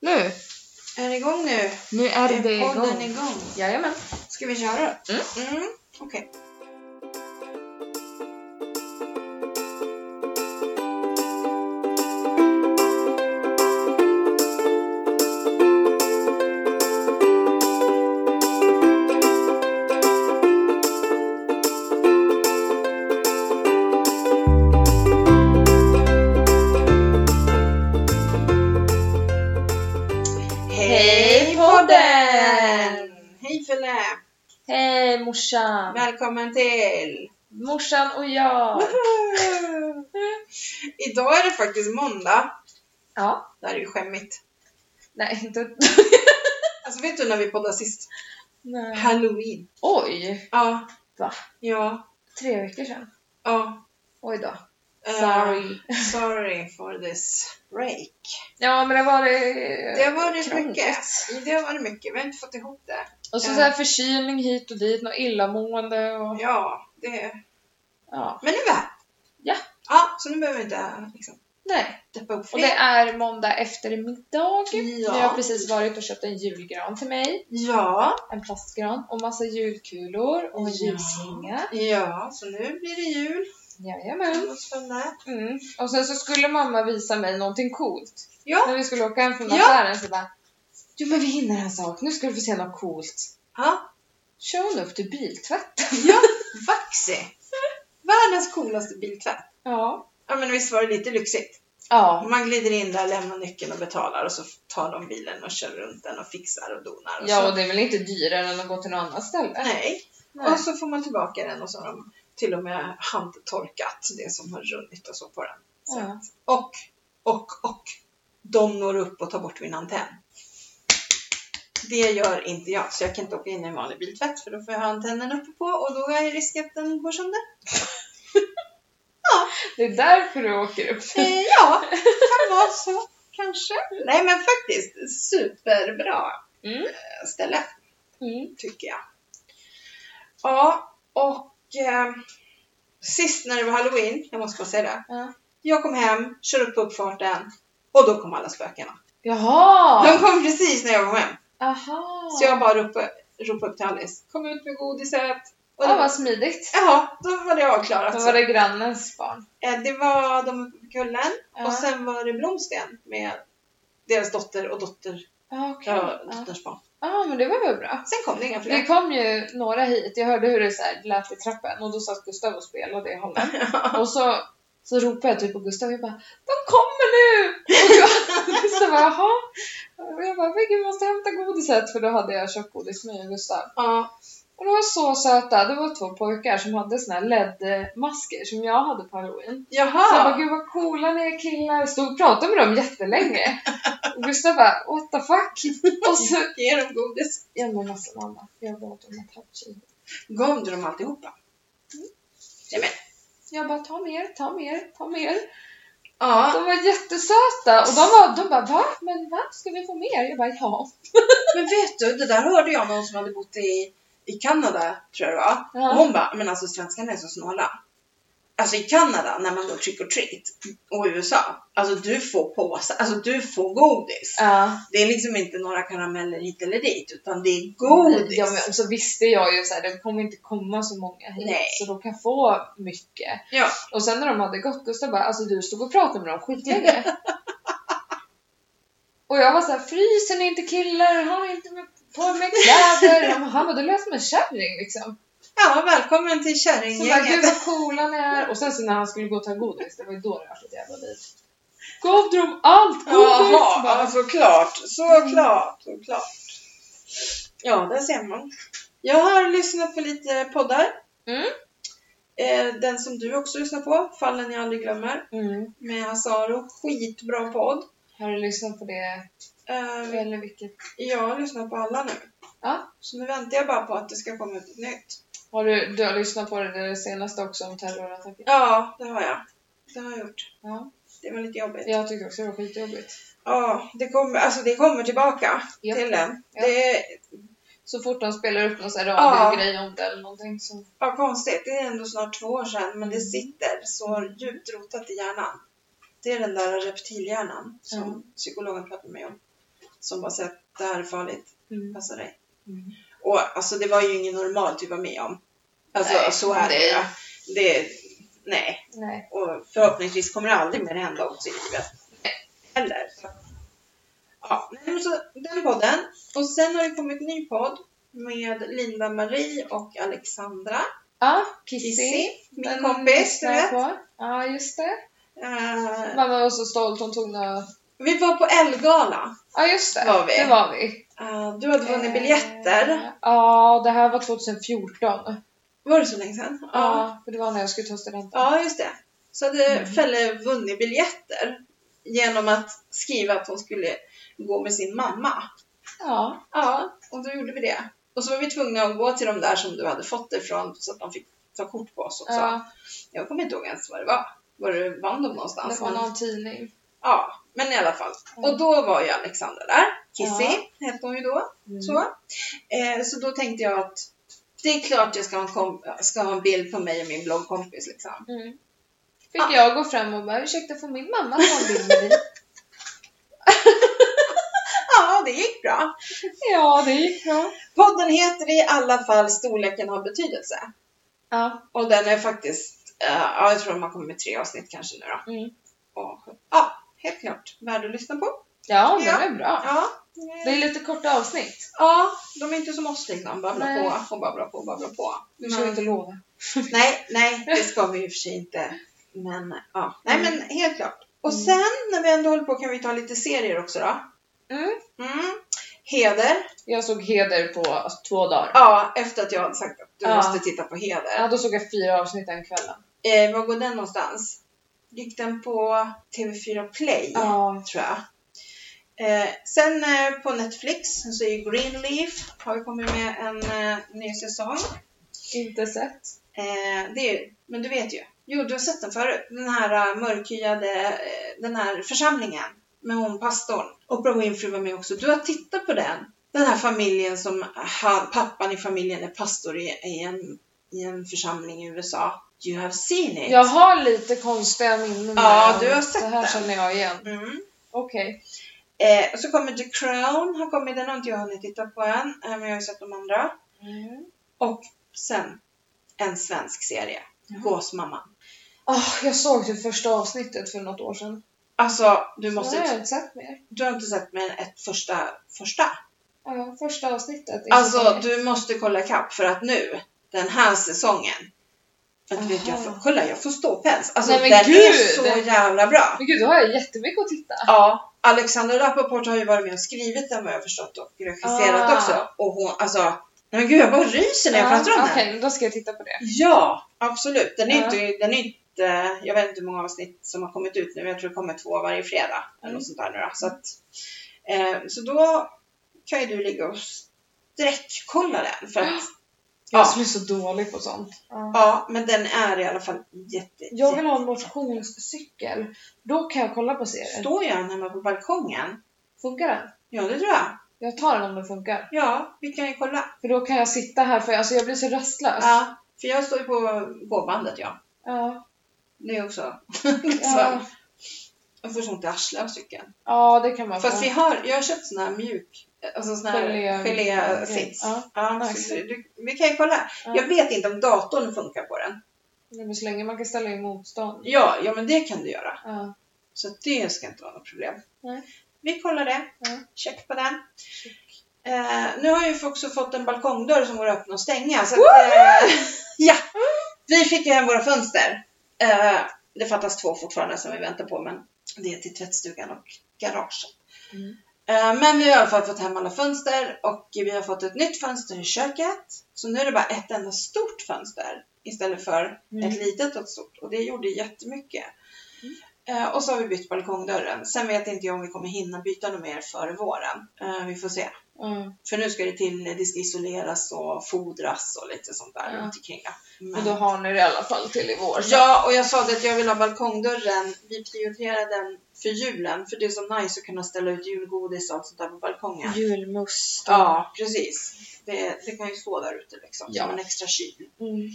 Nu! Är den igång nu? Nu är det podden igång. igång? Jajamän. Ska vi köra? Mm. Mm. Okej. Hej, podden! Hej Fille! Hej Eh, morsan! Välkommen till... Morsan och jag! Woho! Idag är det faktiskt måndag. Ja, Det här är ju skämmigt. nej inte... Alltså vet du när vi poddade sist? nej. Halloween. Oj! Ja. Va? Ja. Tre veckor sedan? Ja. Oj då. Eh, Sorry. sorry for this break. Ja men det var det... Det har varit Krångligt. mycket. Det har varit mycket. Vi har inte fått ihop det. Och så, Ja. så här förkylning hit och dit, något illamående och... Ja, det... Ja. Men nu är vi här. Ja. Ja, så nu behöver vi inte liksom, Nej. deppa upp Och fler. det är måndag eftermiddag. Ja. Jag har precis varit och köpt en julgran till mig. Ja, En plastgran och massa julkulor och en Ja. ljusslinga. ja, så nu blir det jul. Jajamän. Vad spännande. Mm. Och sen så skulle mamma visa mig någonting coolt. Ja. När vi skulle åka hem från Ja. affären så bara Jo men vi hinner en sak, nu ska du få se något coolt. Ja, Kör hon upp till biltvätt? Vaxi. Världens coolaste biltvätt. Ja. Ja, men visst var det lite lyxigt? Ja. Man glider in där, lämnar nyckeln och betalar och så tar de bilen och kör runt den och fixar och donar. Och Ja så. och det är väl inte dyrare än att gå till något annat ställe? Nej. Nej. Och så får man tillbaka den och så har de till och med handtorkat det som har runnit och så på den. Så Ja. Och, och, och. De når upp och tar bort min antenn. Det gör inte jag, så jag kan inte åka in i en vanlig biltvätt för då får jag ha antennen uppe på och då är risken att den går sönder. Det är därför du åker upp. Eh, ja, kan vara så. Kanske. Nej men faktiskt, superbra Mm. eh, ställe Mm. tycker jag. Ja, och eh, sist när det var halloween, jag måste bara säga det. Ja. Jag kom hem, kör upp på uppfarten och då kom alla spökena. De Jaha! kom precis när jag kom hem. Aha. Så jag bara ropade, ropade upp till Alice. Kom ut med godiset! Och Ja, då, vad smidigt. jaha, då var det avklarat. Då så. var det grannens barn. Eh, det var de uppe på kullen Ja. och sen var det Blomsten med deras dotter och dotter, Ja, okej. ja, Ja. dotterns barn. ja, men det var väl bra. Sen kom det inga Det fler. kom ju några hit, jag hörde hur det så här lät i trappen och då satt Gustav och spelade i hallen. Och så, så ropade jag typ på Gustav och jag bara De kommer nu! Och jag, Gustav bara jaha? Och jag bara "Men gud, vi måste hämta godiset för då hade jag köpt godis för mig och Gustav. Ja, Och de var så söta, det var två pojkar som hade såna här LED-masker som jag hade på halloween. Så jag bara jaha! gud vad coola ni är killar, stod och pratade med dem jättelänge. Och Gustav bara what the fuck? Och så, Ge dem godis. ja men alltså mamma, jag bad om att touchy. Gav du dem alltihopa? Jajamän. Jag bara ta mer, ta mer, ta mer. Ja, De var jättesöta och de, var, de bara va? Men va? Ska vi få mer? Jag bara ja. men vet du, det där hörde jag någon som hade bott i, i Kanada, tror jag det var. Ja. Och hon bara, men alltså svenskarna är så snåla. Alltså i Kanada, när man går trick or treat, och i USA, alltså du får påsar, alltså du får godis. Ja. Det är liksom inte några karameller hit eller dit, utan det är godis. Ja, men, och så visste jag ju så här, det kommer inte komma så många hit Nej. så de kan få mycket. Ja. Och sen när de hade gått Gustav bara alltså du stod och pratade med dem skitlänge. och jag var så här, fryser ni inte killar? Har ni inte med, på med kläder? Han bara, Han bara du lät som en kärring liksom. ja välkommen till Så bara gud kärringgänget. vad coola ni är. Och sen så när han skulle gå och ta godis, det var ju då det vart ett jävla liv. Gav du dem allt godis? Jaha, Bara, ja, såklart, såklart, såklart. Ja, där ser man. Jag har lyssnat på lite poddar. Mm. Eh, Den som du också lyssnar på, Fallen jag aldrig glömmer, Mm. med Hasaro. Skitbra podd. Har du lyssnat på det? Eh, Eller vilket? Jag har lyssnat på alla nu. Ja. Så nu väntar jag bara på att det ska komma ut ett nytt. Har du, du har lyssnat på det där senaste också om terrorattacken? Ja, det har jag. Det har jag gjort. Ja. Det var lite jobbigt. Ja, Jag tycker också det var skitjobbigt. det, kommer, alltså det kommer tillbaka Ja. till en. Ja. Det är Så fort de spelar upp någon sån här Ja. radiogrej om det eller någonting så... ja, konstigt. Det är ändå snart två år sedan, men det Mm. sitter så djupt rotat i hjärnan. Det är den där reptilhjärnan som Mm. psykologen pratade med om. som bara säger att det här är farligt, Mm. passa dig. Mm. Och alltså det var ju ingen normal typ var med om. Alltså Nej, så är det nej. ja. Det, nej. Nej. Och förhoppningsvis kommer det aldrig mer hända också i livet. Heller. Så. Ja, nej, men så den podden. Och sen har det kommit en ny podd med Linda Marie och Alexandra. Ja, Kissy. Kissy, min Den kompis, du lyssnar jag vet. på. Ja, just det. Eh, Mamma var så stolt, hon tog några... vi var på Elgala. Ja, just det. Var vi. Det var vi. Eh, du hade vunnit biljetter. Eh, Ja, det här var 2014. Var det så länge sedan? Ja, för det var när jag skulle ta studenten. Ja, just det. Så hade Mm. Felle vunnit biljetter genom att skriva att hon skulle gå med sin mamma. Ja. Ja, och då gjorde vi det. Och så var vi tvungna att gå till de där som du hade fått det ifrån så att de fick ta kort på oss också. ja. Jag kommer inte ihåg ens vad det var. Var det vann de någonstans? Det var Men- någon tidning. Ja, men i alla fall. Mm. Och då var ju Alexandra där. Kissy Ja. hette hon ju då. Mm. Så. Eh, så då tänkte jag att det är klart jag ska ha en, kom- ska ha en bild på mig och min bloggkompis liksom. Mm. Fick jag gå fram och bara ursäkta får min mamma ta en bild med dig? Ja, det gick bra. ja, det gick bra. Podden heter i alla fall Storleken har betydelse. Ja. Och den är faktiskt, eh, ja, jag tror de har kommit med tre avsnitt kanske nu då. Mm. Och, ja, helt klart värd att lyssna på. Ja, den Ja. är bra. Ja. Det är lite korta avsnitt. Ja, de är inte som oss liksom. Babbla Nej. på och babbla på och babbla på. Nu ska vi inte lova. Nej, nej, det ska vi i och för sig inte. Men ja, nej Mm. men helt klart. Och Mm. sen när vi ändå håller på kan vi ta lite serier också då. Mm. Mm. Heder. Jag såg Heder på alltså, två dagar. Ja, efter att jag hade sagt att du Ja. måste titta på Heder. Ja, då såg jag fyra avsnitt den kvällen. Eh, var går den någonstans? Gick den på TV4 Play, Ja. tror jag. Eh, sen eh, på Netflix så är Greenleaf, har ju kommit med en eh, ny säsong. Inte sett. Eh, det är, ju- men du vet ju. Jo, du har sett den förut. Den här eh, mörkhyade, eh, den här församlingen med hon pastorn. Oprah Winfrey var med också. Du har tittat på den. Den här familjen som, han, pappan i familjen är pastor i, i, en, i en församling i USA. You have seen it. Jag har lite konstiga minnen. Ja, men du har sett Det här den. känner jag igen. Mm. Okej. Eh, och så kommer The Crown, har kommit, den har inte jag hunnit titta på än, eh, men jag har ju sett de andra. Mm. Och sen en svensk serie, Jaha. Gåsmamman. Ah, jag såg det första avsnittet för något år sedan. Alltså, du, Nu måste, har jag inte sett mer. du har inte sett mer än ett första, första. Ja, första avsnittet. i Alltså, säsongen. du måste kolla ikapp för att nu, den här säsongen, att vet jag, Aha. får, kolla jag får ståpäls. Alltså, Nej, men den är gud! så jävla bra. Men gud, då har jag jättemycket att titta. Ja, Alexander Rappaport har ju varit med och skrivit den vad jag förstått och regisserat Ah. också. Och hon, alltså, nej men gud jag bara ryser när jag pratar om den. Okej, Ah. men då ska jag titta på det. Ja, absolut. Den är, Ja. inte, den är inte, jag vet inte hur många avsnitt som har kommit ut nu, jag tror det kommer två varje fredag. Eller Mm. något sånt där nu då. Så, att, eh, så då kan ju du ligga och sträckkolla den. För att, Jag Ja. som är så dålig på sånt. Ah, ja, men den är i alla fall jätte... Jag vill ha en motionscykel. Då kan jag kolla på serier. Står jag den hemma på balkongen? Funkar den? Ja, det tror jag. Jag tar den om den funkar. Ja, vi kan ju kolla. För då kan jag sitta här, för alltså, jag blir så rastlös. Ja, för jag står ju på gåbandet, ja. Ja. Det är också... Ja. liksom. Jag får sånt i arslet av cykeln. ja, det kan man få. Fast vi har, jag har köpt sån här mjuk, alltså sån här Gelé- gelé-sits. Ja. Ja, nice. så du- du- vi kan ju kolla. Ja. Jag vet inte om datorn funkar på den. Nej, men så länge man kan ställa in motstånd. Ja, ja men det kan du göra. Ja. Så att det ska inte vara något problem. Nej. Vi kollar det. Ja. Check på den. Eh, nu har jag ju också fått en balkongdörr som går att öppna och stänga. Så att, Woho! eh, ja, vi fick ju hem våra fönster. Eh, det fattas två fortfarande som vi väntar på, men det är till tvättstugan och garaget. Mm. Eh, Men vi har i alla fall fått hem alla fönster och vi har fått ett nytt fönster i köket. Så nu är det bara ett enda stort fönster istället för Mm. ett litet och ett stort. Och det gjorde jättemycket. Eh, Och så har vi bytt balkongdörren. Sen vet inte jag om vi kommer hinna byta något mer före våren. Eh, Vi får se. Ja. För nu ska det till, det ska isoleras och fodras och lite sånt där Ja. runt omkring. ja. Men då har ni det i alla fall till i vår. Ja, och jag sa det att jag vill ha balkongdörren. Vi prioriterar den för julen. För det är så nice att kunna ställa ut julgodis och allt sånt där på balkongen. Julmust. Ja, precis. Det, det kan ju stå där ute liksom, Ja. som en extra kyl. Mm.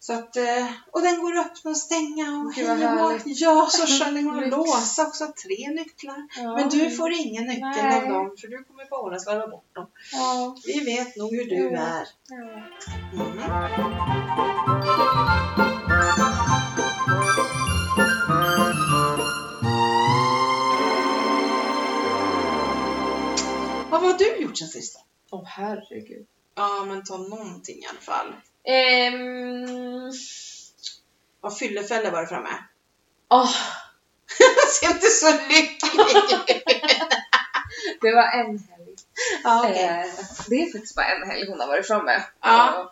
Så att, eh, och den går att öppna och stänga och Gud, vad hej och hå. härligt. Ja, så skön. Den går att Lyx. låsa också. Tre nycklar. Ja. Men du får ingen nyckel Nej. av dem för du kommer bara slarva bort dem. Ja. Vi vet nog hur du Jo. är. Ja. Mm. Vad har du gjort sen sist då? Åh herregud. Ja, men ta någonting i alla fall. Ehm... Vad fyllefälle var det framme? åh, Ser inte så lycklig ut. det var en helg. Ja, okej. Eh, det är faktiskt bara en helg hon har varit framme. Ja. Och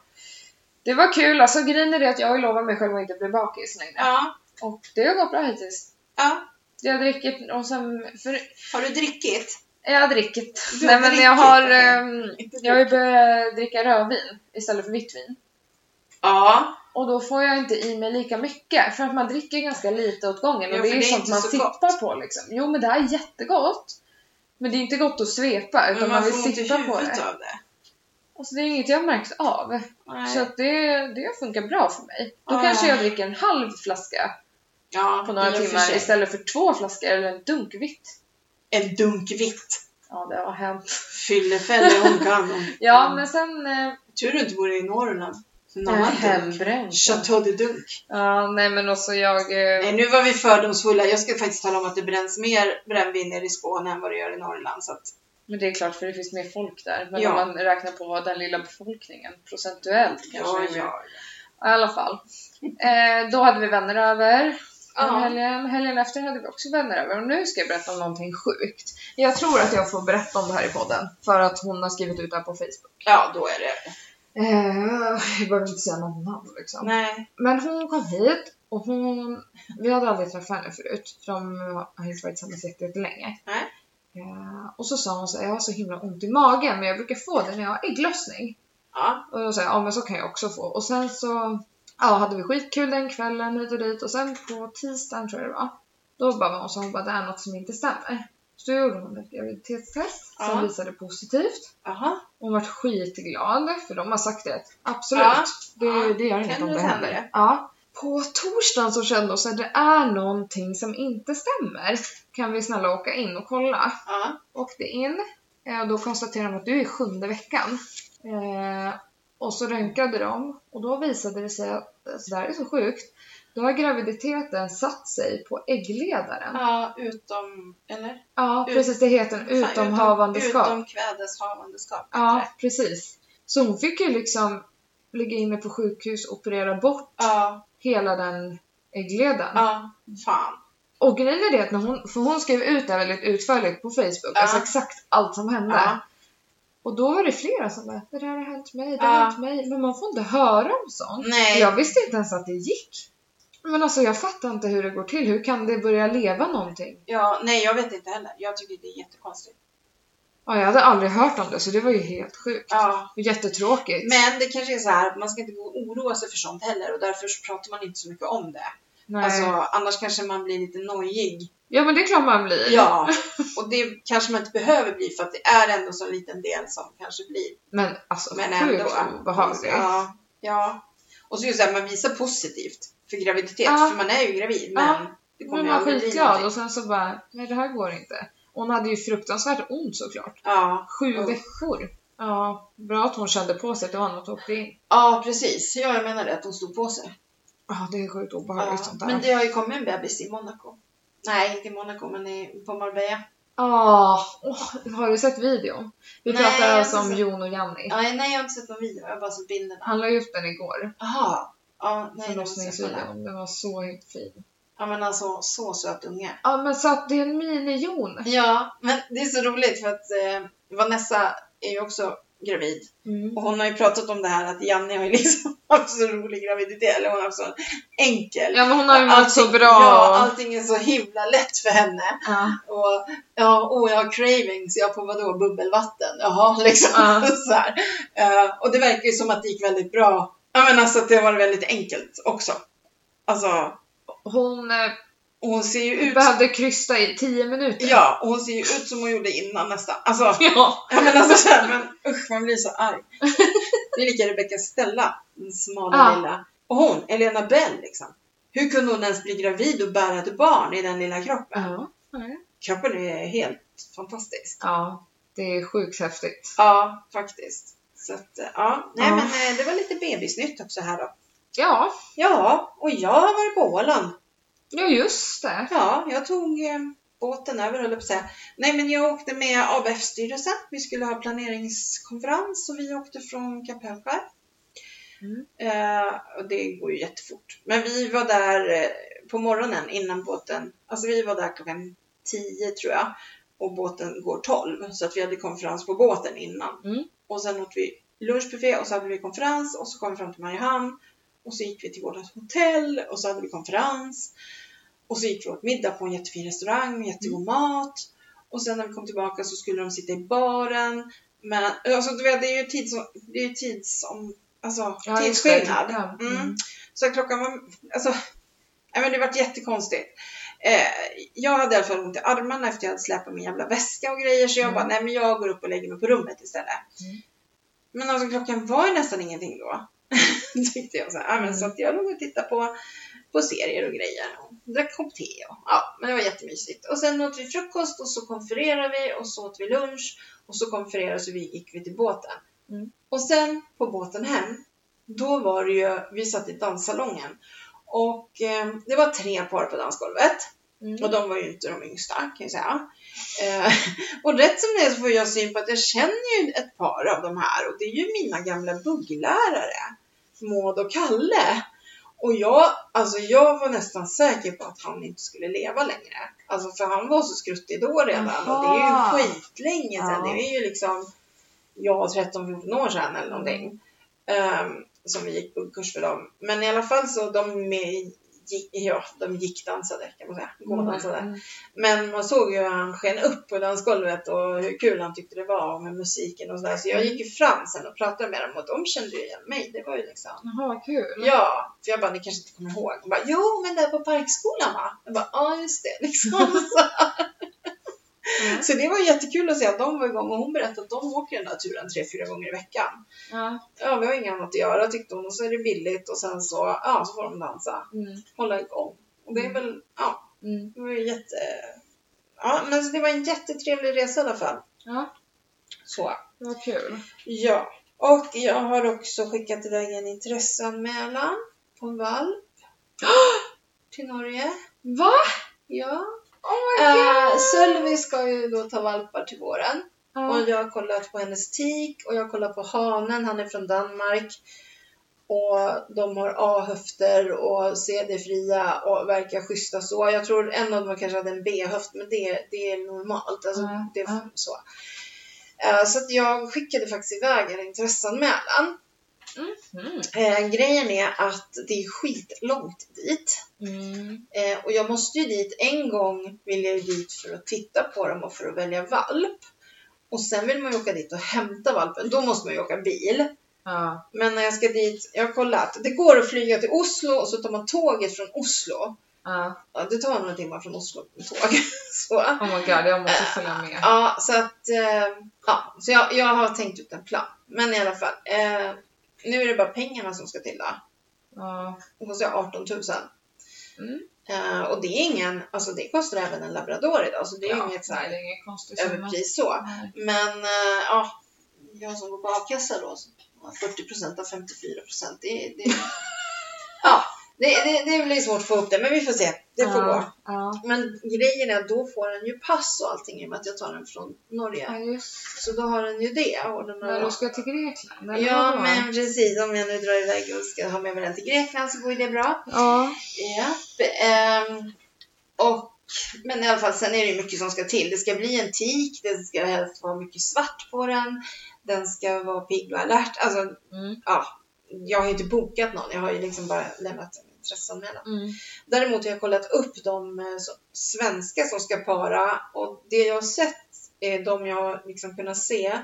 Det var kul. Alltså grejen är det att jag har ju lovat mig själv att inte bli bakis längre. ja, Och det har gått bra hittills. ja. Jag dricker och sen... För, Har du drickit? jag har drickit. Du Nej har men jag drickit, har... okej. ehm, jag har ju börjat dricka rödvin istället för vitt vin. Ja, Och då får jag inte i mig lika mycket för att man dricker ganska lite åt gången och Ja, det för är ju det är sånt inte man så sippar på liksom. Jo men det här är jättegott. Men det är inte gott att svepa utan men man, man vill får ont i sitta på huvudet det. av det. Alltså det är inget jag har märkt av. Så Nej. att det, det funkar bra för mig. Då Ja. kanske jag dricker en halv flaska Ja, på några i och för timmar sig. istället för två flaskor eller en dunk vitt. En dunk vitt. Ja det har hänt. Fyllefälle hon kan. Ja Mm. men sen... eh, Tur du inte bor i Norrland. En jag är annan dunk. hembränd. Chateau de Dunk. Ja nej men också jag... eh, Nej, nu var vi fördomsfulla. Jag ska faktiskt tala om att det bränns mer brännvin nere i Skåne än vad det gör i Norrland. Så att, Men det är klart för det finns mer folk där. Men Ja. om man räknar på den lilla befolkningen procentuellt kanske det är mer. I alla fall. Eh, då hade vi vänner över. Ja. Ja. Helgen, helgen efter hade vi också vänner över och nu ska jag berätta om någonting sjukt. Jag tror att jag får berätta om det här i podden för att hon har skrivit ut det här på Facebook. Ja, då är det. Eh, jag behöver inte säga någon namn liksom. Nej. Men hon kom hit och hon, vi hade aldrig träffat henne förut för de har inte varit tillsammans riktigt länge. Nej. Ja, och så sa hon så här, jag har så himla ont i magen men jag brukar få det när jag har ägglossning. Ja. Och då sa jag, ja men så kan jag också få. Och sen så ja, hade vi skitkul den kvällen hit och dit och sen på tisdagen tror jag det var. Då bara var hon så hon bara, det är något som inte stämmer. Så då gjorde hon ett graviditetstest som Ja. visade positivt. Jaha. Hon vart skitglad för de har sagt det. Absolut. Ja. Det, Ja. det gör inget Händer om det det händer händer. det. Ja. På torsdagen så kände hon så här, det är någonting som inte stämmer. Kan vi snälla åka in och kolla? Ja. åkte in eh, och då konstaterade de att du är i sjunde veckan. Eh, och så röntgade de och då visade det sig att alltså, det här är så sjukt. Då har graviditeten satt sig på äggledaren. ja, utom... Eller? Ja, ut- precis det heter en Fan, utomhavandeskap. Utom kvädeshavandeskap. Ja, precis. Så hon fick ju liksom ligga inne på sjukhus och operera bort Ja. hela den äggledaren. Ja. Fan. Och grejen är det att när hon, för hon skrev ut det här väldigt utförligt på Facebook, Ja. alltså exakt allt som hände. Ja. Och då var det flera som bara, det där har hänt mig, det Ja. har hänt mig. Men man får inte höra om sånt. Nej. Jag visste inte ens att det gick. Men alltså jag fattar inte hur det går till. Hur kan det börja leva någonting? Ja, nej, jag vet inte heller. Jag tycker det är jättekonstigt. Ja, jag hade aldrig hört om det så det var ju helt sjukt. Ja. Och jättetråkigt. Men det kanske är så här att man ska inte gå och oroa sig för sånt heller och därför så pratar man inte så mycket om det. Nej. Alltså, annars kanske man blir lite nojig ja men det är klart man blir. Ja, och det kanske man inte behöver bli för att det är ändå så en liten del som kanske blir. Men alltså Men ändå. sjukt obehagligt. Ja, ja. Och så just det här, man visar positivt för graviditet, Ja. för man är ju gravid. Men Ja. det Men kommer man var aldrig bli skitglad någonting. och sen så bara, nej det här går inte. Hon hade ju fruktansvärt ont såklart. Ja. Sju Usch. veckor. Ja, bra att hon kände på sig att det var något och åkte in. ja, precis. Ja, jag menar det, att hon stod på sig. Ja, det är sjukt obehagligt Ja. sånt där. Men det har ju kommit en bebis i Monaco. Nej, inte i Monaco, men i, på Marbella. Ah, åh, har du sett videon? Vi Nej, jag pratar har alltså inte om sett. Jon och Janni. Nej, nej, jag har inte sett någon video, jag har bara sett bilderna. Han la ju upp den igår, Jaha. Ja, nej, det måste jag kolla. förlossningsvideon. Den var så helt fin. Ja, men alltså, så söt unge. Ja, men så att det är en mini-Jon. Ja, men det är så roligt för att eh, Vanessa är ju också gravid. Mm. Och hon har ju pratat om det här att Janne har ju liksom haft så rolig graviditet, eller hon har haft så enkel. Ja, men hon har ju mått så bra. Alltså, Ja, Ja, allting är så himla lätt för henne. ja. Och ja, åh, jag har cravings, jag på vadå, bubbelvatten? Jaha, liksom. Ja. Så här. Eh, och det verkar ju som att det gick väldigt bra. Ja, men alltså att det var väldigt enkelt också. Alltså, Hon eh, och hon ser ju ut... behövde krysta i 10 minuter. Ja, och hon ser ju ut som hon gjorde innan nästan. Alltså, Ja. Ja men alltså såhär, men usch man blir så arg. Det är lika Rebecca Stella, den smala Ja. lilla. Och hon, Elena Bell liksom. Hur kunde hon ens bli gravid och bära ett barn i den lilla kroppen? Ja. Kroppen är helt fantastisk. ja, det är sjukt häftigt. Ja, faktiskt. Så att, eh, ja. Nej Ja. men eh, det var lite bebisnytt också här då. Ja, Ja, och jag har varit på Åland. ja just det. Ja, jag tog eh, båten över höll jag på att säga. Nej, men jag åkte med ABF-styrelsen. Vi skulle ha planeringskonferens och vi åkte från Kapellskär. Mm. Eh, och det går ju jättefort. Men vi var där eh, på morgonen innan båten. Alltså vi var där klockan 10 tror jag. Och båten går 12. Så att vi hade konferens på båten innan. Mm. Och sen åt vi lunchbuffé och så hade vi konferens och så kom vi fram till Mariehamn. Och så gick vi till vårt hotell och så hade vi konferens. Och så gick vi åt middag på en jättefin restaurang med jättegod Mm. mat. Och sen när vi kom tillbaka så skulle de sitta i baren. Men alltså, du vet, det är ju tids, det är ju tids, om, alltså, Ja, just det. tidsskillnad. Ja, Mm. mm. Så klockan var, alltså, nej, men det vart jättekonstigt. Eh, jag hade i alla fall ont i armarna efter jag hade släpat min jävla väska och grejer. Så jag Mm. bara, nej men jag går upp och lägger mig på rummet istället. Mm. Men alltså klockan var ju nästan ingenting då. Tyckte jag så här. Ja, men Mm. Så att jag låg och tittade på, på serier och grejer. Och drack kopp te och, ja, men det var jättemysigt. Och sen åt vi frukost och så konfererade vi och så åt vi lunch. Och så konfererade så vi gick vi till båten. Mm. Och sen på båten hem, då var det ju, vi satt i danssalongen. Och eh, det var tre par på dansgolvet. Mm. Och de var ju inte de yngsta kan jag säga. Eh, och rätt som det är så får jag syn på att jag känner ju ett par av de här och det är ju mina gamla bugglärare. Maud och Kalle. Och jag, alltså jag var nästan säker på att han inte skulle leva längre. Alltså för han var så skruttig då redan och det är Jaha. ju skitlänge sedan. Ja. Det är ju liksom, ja 13-14 år sedan eller någonting. Ehm, som vi gick buggkurs för dem. Men i alla fall så de med, gick, ja, de gick dansade kan man säga. Gådansade. Mm. Men man såg ju hur han sken upp på dansgolvet och hur kul han tyckte det var med musiken och sådär. Så jag gick ju fram sen och pratade med dem och de kände ju igen mig. Det var ju liksom... Jaha, kul. Ja, för jag bara, ni kanske inte kommer ihåg. De bara, jo men där på Parkskolan va? Jag bara, ja just det. Liksom. Så, Mm. så det var jättekul att se att de var igång och hon berättade att de åker den där turen tre, fyra gånger i veckan. Ja. Ja, vi har inget annat att göra tyckte hon och så är det billigt och sen så, ja, så får de dansa, Mm. hålla igång. Och det är väl, ja, Mm. det var ju jätte... Ja, men alltså det var en jättetrevlig resa i alla fall. Ja, Så. det var kul. Ja. Och jag har också skickat iväg en intresseanmälan på en valp. Till Norge. Va? Ja. Oh my Eh, god! Sölvi ska ju då ta valpar till våren. Ja. Och jag har kollat på hennes tik och jag har kollat på hanen, han är från Danmark. Och de har A-höfter och CD-fria och verkar schyssta så. Jag tror en av dem kanske hade en B-höft men det, det är normalt. Alltså, Ja, det är ja. så. Eh, Så att jag skickade faktiskt iväg en intresseanmälan. Mm. Eh, Grejen är att det är skitlångt dit. Mm. Eh, Och jag måste ju dit en gång vill jag ju dit för att titta på dem och för att välja valp. Och sen vill man ju åka dit och hämta valpen. Då måste man ju åka bil. Ja. Men när jag ska dit, jag har kollat. Det går att flyga till Oslo och så tar man tåget från Oslo. Ja. Ja, det tar några timmar från Oslo med tåg. Så, Oh my god, jag måste följa med. ja, så att, eh, ja, så jag, jag har tänkt ut en plan. Men i alla fall, eh, nu är det bara pengarna som ska till då. Ja. Det kostar 18 000. Mm. Eh, och det är ingen, alltså det kostar även en labrador idag, så det är Ja, inget så här Det är inget konstigt. överpris så. Nej. Men eh, ja, jag som går på a-kassa då, så 40 procent av 54 procent, det, det, ja, det, det, det blir svårt att få upp det, men vi får se. Det får gå. ja. Ja. Men grejen är att då får den ju pass och allting i och med att jag tar den från Norge. ja, just Så då har den ju det. Och den När har... du ska till Grekland? eller Ja, vadå? men precis. Om jag nu drar iväg och ska ha med mig den till Grekland så går ju det bra. Ja. Japp. ehm, och, men i alla fall, sen är det ju mycket som ska till. Det ska bli en tik, det ska helst vara mycket svart på den, den ska vara pigg och alert. Alltså, Mm. ja, jag har ju inte bokat någon, jag har ju liksom bara lämnat en intresseanmälan. Mm. Däremot har jag kollat upp de eh, så- svenska som ska para och det jag har sett, eh, de jag har liksom kunnat se,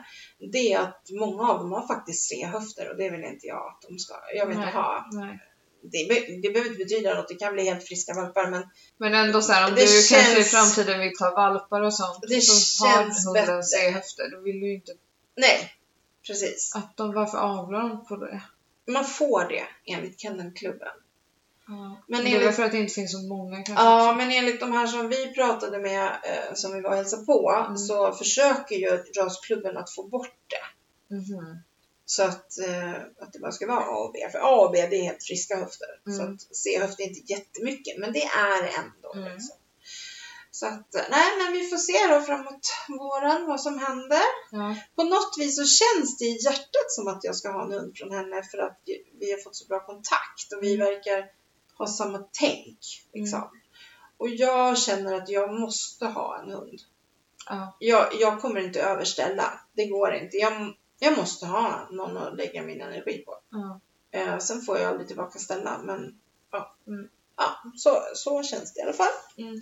det är att många av dem har faktiskt tre höfter och det vill inte jag att de ska, jag vill Nej. inte ha Nej. det, be- det behöver inte betyda något, det kan bli helt friska valpar men Men ändå så här, om Det du kanske i känns- framtiden vill ta valpar och sånt Det så känns har hunden bättre. C-höfter. Då vill du ju inte nej, precis. att de, varför avlar de på det? Man får det enligt kennelklubben. Ja. Men det är enligt- väl för att det inte finns så många kanske. Ja, men enligt de här som vi pratade med, eh, som vi var och hälsade på, Mm. så försöker ju rasklubben att få bort det. Mhm. Så att, eh, att det bara ska vara A och B. För A och B, det är helt friska höfter. Mm. Så att C-höft är inte jättemycket, men det är ändå. Mm. Liksom. Så att, eh, nej, men vi får se då framåt våren vad som händer. Ja. På något vis så känns det i hjärtat som att jag ska ha en hund från henne för att vi- vi har fått så bra kontakt och vi Mm. verkar ha samma tänk. Liksom. Och jag känner att jag måste ha en hund. Ja. Jag, jag kommer inte överställa. Det går inte. Jag, jag måste ha någon att lägga min energi på. Ja. Eh, sen får jag aldrig tillbaka ställa, men ja. Mm. ja så, så känns det i alla fall. Mm.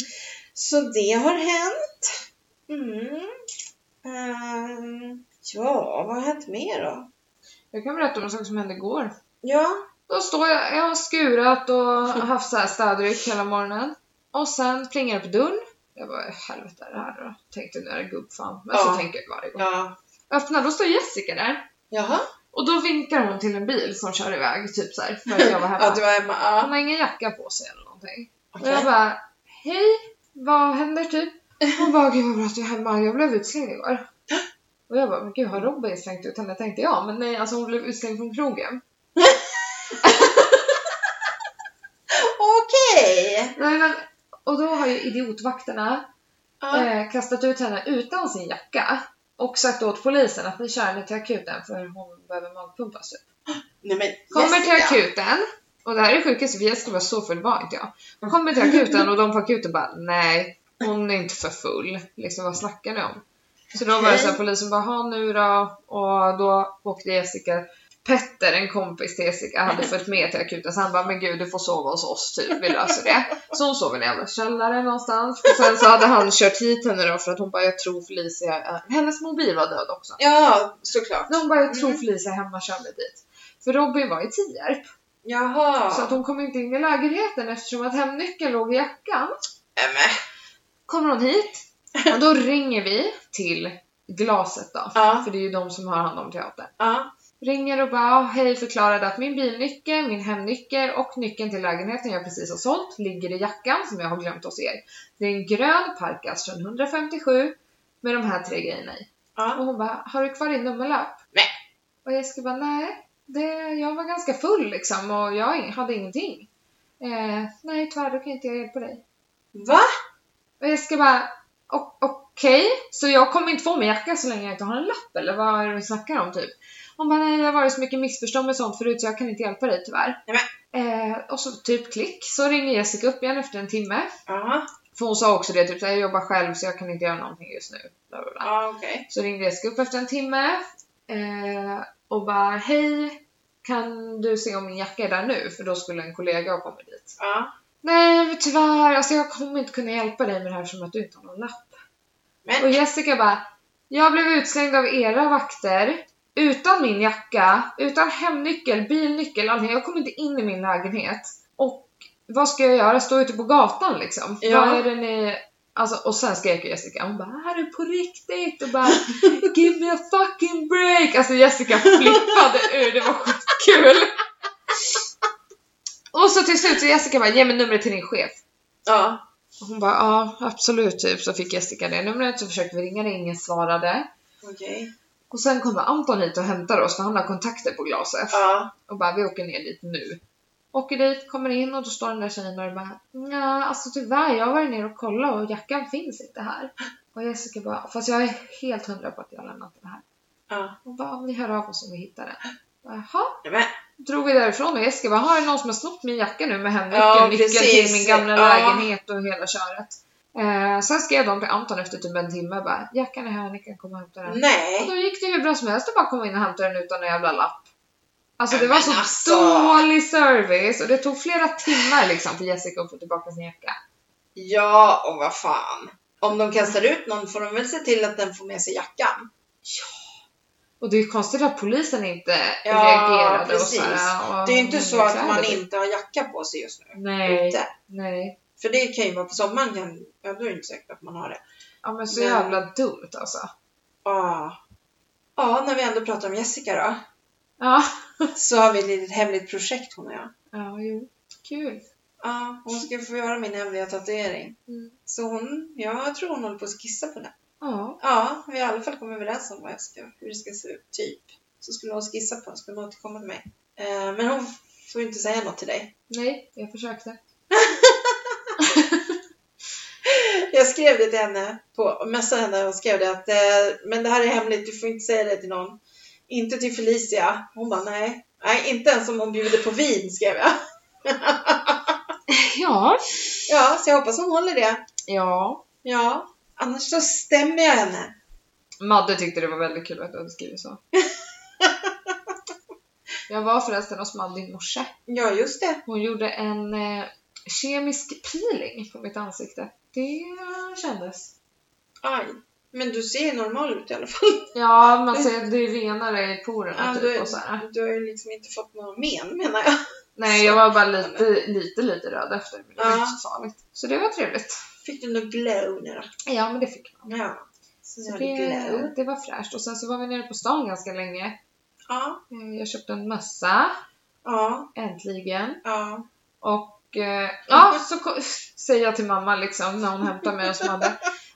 Så det har hänt. Mm. Ehm, ja, vad har hänt mer då? Jag kan berätta om en sak som hände igår. Ja, Då står jag, jag har skurat och haft så här städryck hela morgonen. Och sen plingar det på dörren. Jag bara, helvete är det här då? Tänkte nu är det gubbfan. Men så Ja. tänker jag varje gång. ja. Jag öppnar, då står Jessica där. Jaha. Och då vinkar hon till en bil som kör iväg, typ så här, för att jag var hemma. Ja, du var hemma. Hon Ja. har ingen jacka på sig eller någonting. Okej. Och jag bara, hej, vad händer typ? Hon bara, gud vad bra att du är hemma, jag blev utslängd igår. Och jag bara, men gud har Robin slängt ut henne? Tänkte jag, men nej alltså hon blev utslängd från krogen. Okej. Nej, men, och då har ju idiotvakterna Ja. eh, kastat ut henne utan sin jacka och sagt åt polisen att ni kör henne till akuten för hon behöver magpumpas. typ. Nej men Kommer till Jessica. akuten, och det här är sjukaste för Jessica var så full var inte jag. Kommer till akuten och de på akuten bara nej, hon är inte för full. Liksom vad snackar ni om? Så då var det såhär Okej. polisen bara ha nu då och då åkte Jessica Petter, en kompis till Jessica, hade följt med till akuten så han bara men gud du får sova hos oss typ, vi löser det. Så hon sov i en jävla källare någonstans. Och sen så hade han kört hit henne då för att hon bara jag tror Felicia, är-" hennes mobil var död också. Ja, såklart. Hon bara jag tror Mm. Felicia är hemma, kör mig dit. För Robin var i Tierp Jaha. så att hon kom inte in i lägenheten eftersom att hemnyckeln låg i jackan. Nämen. Kommer hon hit och då ringer vi till glaset då. Ja. För det är ju de som har hand om teatern. Ja. Ringer och bara "Ah, hej förklarade att min bilnyckel, min hemnyckel och nyckeln till lägenheten jag precis har sålt ligger i jackan som jag har glömt hos er. Det är en grön parkas från 157 med de här tre grejerna i. Ja. Och hon bara, har du kvar din nummerlapp? Nej. Och Jessica bara, nej. Det, jag var ganska full liksom och jag ing- hade ingenting. Eh, nej tyvärr, då kan inte jag hjälpa dig. Va? Och Jessica bara, "O- okej, så jag kommer inte få min jacka så länge jag inte har en lapp eller vad är det du snackar om typ? Hon bara, nej det har varit så mycket missförstånd med sånt förut så jag kan inte hjälpa dig tyvärr. Nej, Eh, och så typ klick, så ringer Jessica upp igen efter en timme. Ja. För hon sa också det, typ så här, jag jobbar själv så jag kan inte göra någonting just nu. Bla, bla, bla. Ja, okej. Så ringde Jessica upp efter en timme eh, och bara hej, kan du se om min jacka är där nu? För då skulle en kollega ha kommit dit. Ja. Nej men tyvärr, alltså jag kommer inte kunna hjälpa dig med det här som att du inte har någon lapp. Men- Och Jessica bara, jag blev utslängd av era vakter utan min jacka, utan hemnyckel, bilnyckel, allting. Jag kom inte in i min lägenhet. Och vad ska jag göra? Stå ute på gatan liksom? Ja. Vad är det ni... Alltså, och sen skrek ju Jessica, hon bara är du på riktigt? Och bara give me a fucking break! Alltså Jessica flippade ur, det var skitkul! Och så till slut så Jessica bara ge mig numret till din chef. Ja. Och hon bara ja absolut typ så fick Jessica det numret så försökte vi ringa det, ingen svarade. Okej. Och sen kommer Anton hit och hämtar oss för han har kontakter på glaset Ja. och bara vi åker ner dit nu. Åker dit, kommer in och då står den där tjejen där och bara nja, alltså tyvärr jag har varit ner och kollat och jackan finns inte här. Och Jessica bara fast jag är helt hundra på att jag har lämnat den här. Ja. Hon bara vi hör av oss om vi hittar den. Jaha, Nämen. drog vi därifrån och Jessica bara har det någon som har snott min jacka nu med hemnyckeln, Ja, nyckeln till precis. min gamla Ja. lägenhet och hela köret. Eh, sen skrev de till Anton efter typ en timme bara jackan är här, ni kan komma och hämta den. Och Nej. då gick det hur bra som helst att bara komma in och hämta den utan en jävla lapp. Alltså det var Men så alltså. dålig service och det tog flera timmar liksom för Jessica att få tillbaka sin jacka. Ja, och vad fan. Om de kastar ut någon får de väl se till att den får med sig jackan. Och det är ju konstigt att polisen inte Ja, reagerade precis. och sådär. och Det är ju inte så hon att man kläder. inte har jacka på sig just nu. Nej, Inte. nej. För det kan ju vara på sommaren, kan, ja, då är det inte säkert att man har det. Ja men så Men- jävla dumt alltså. Ah. Ja. Ja, när vi ändå pratar om Jessica då. Ja. Så har vi ett litet hemligt projekt hon och jag. Ja, jo. Kul. Ja, hon ska få göra min hemliga tatuering. Mm. Så hon, jag tror hon håller på att skissa på den. Ja. Ja, vi har i alla fall kommit överens om vad jag ska, hur det ska se ut, typ. Så skulle hon skissa på den, skulle hon återkomma till mig. Eh, men hon får ju inte säga något till dig. Nej, jag försökte. Jag skrev det till henne, på messade henne och skrev det att eh, men det här är hemligt, du får inte säga det till någon. Inte till Felicia. Hon bara nej. Nej, inte ens om hon bjuder på vin, skrev jag. Ja. Ja, så jag hoppas hon håller det. Ja. Ja, annars så stämmer jag henne. Madde tyckte det var väldigt kul att du hade skrivit så. Jag var förresten hos Madde i morse. Ja, just det. Hon gjorde en eh, kemisk peeling på mitt ansikte. Det kändes. Aj. Men du ser normal ut i alla fall. Ja, man ser att det är renare i porerna Ja, typ du, och så här. du har ju liksom inte fått någon men, menar jag. Nej, jag var bara lite, lite, lite röd efter. Men det var Ja. inte så farligt. Så det var trevligt. Fick du någon glow nu då? Ja, men det fick man. Ja. Så nu Så har du glow. det, det var fräscht. Och sen så var vi nere på stan ganska länge. Ja. Eh, Jag köpte en mössa, Ja. äntligen. Ja. Och eh, ja, så ko- säger jag till mamma liksom när hon hämtar mig och så hade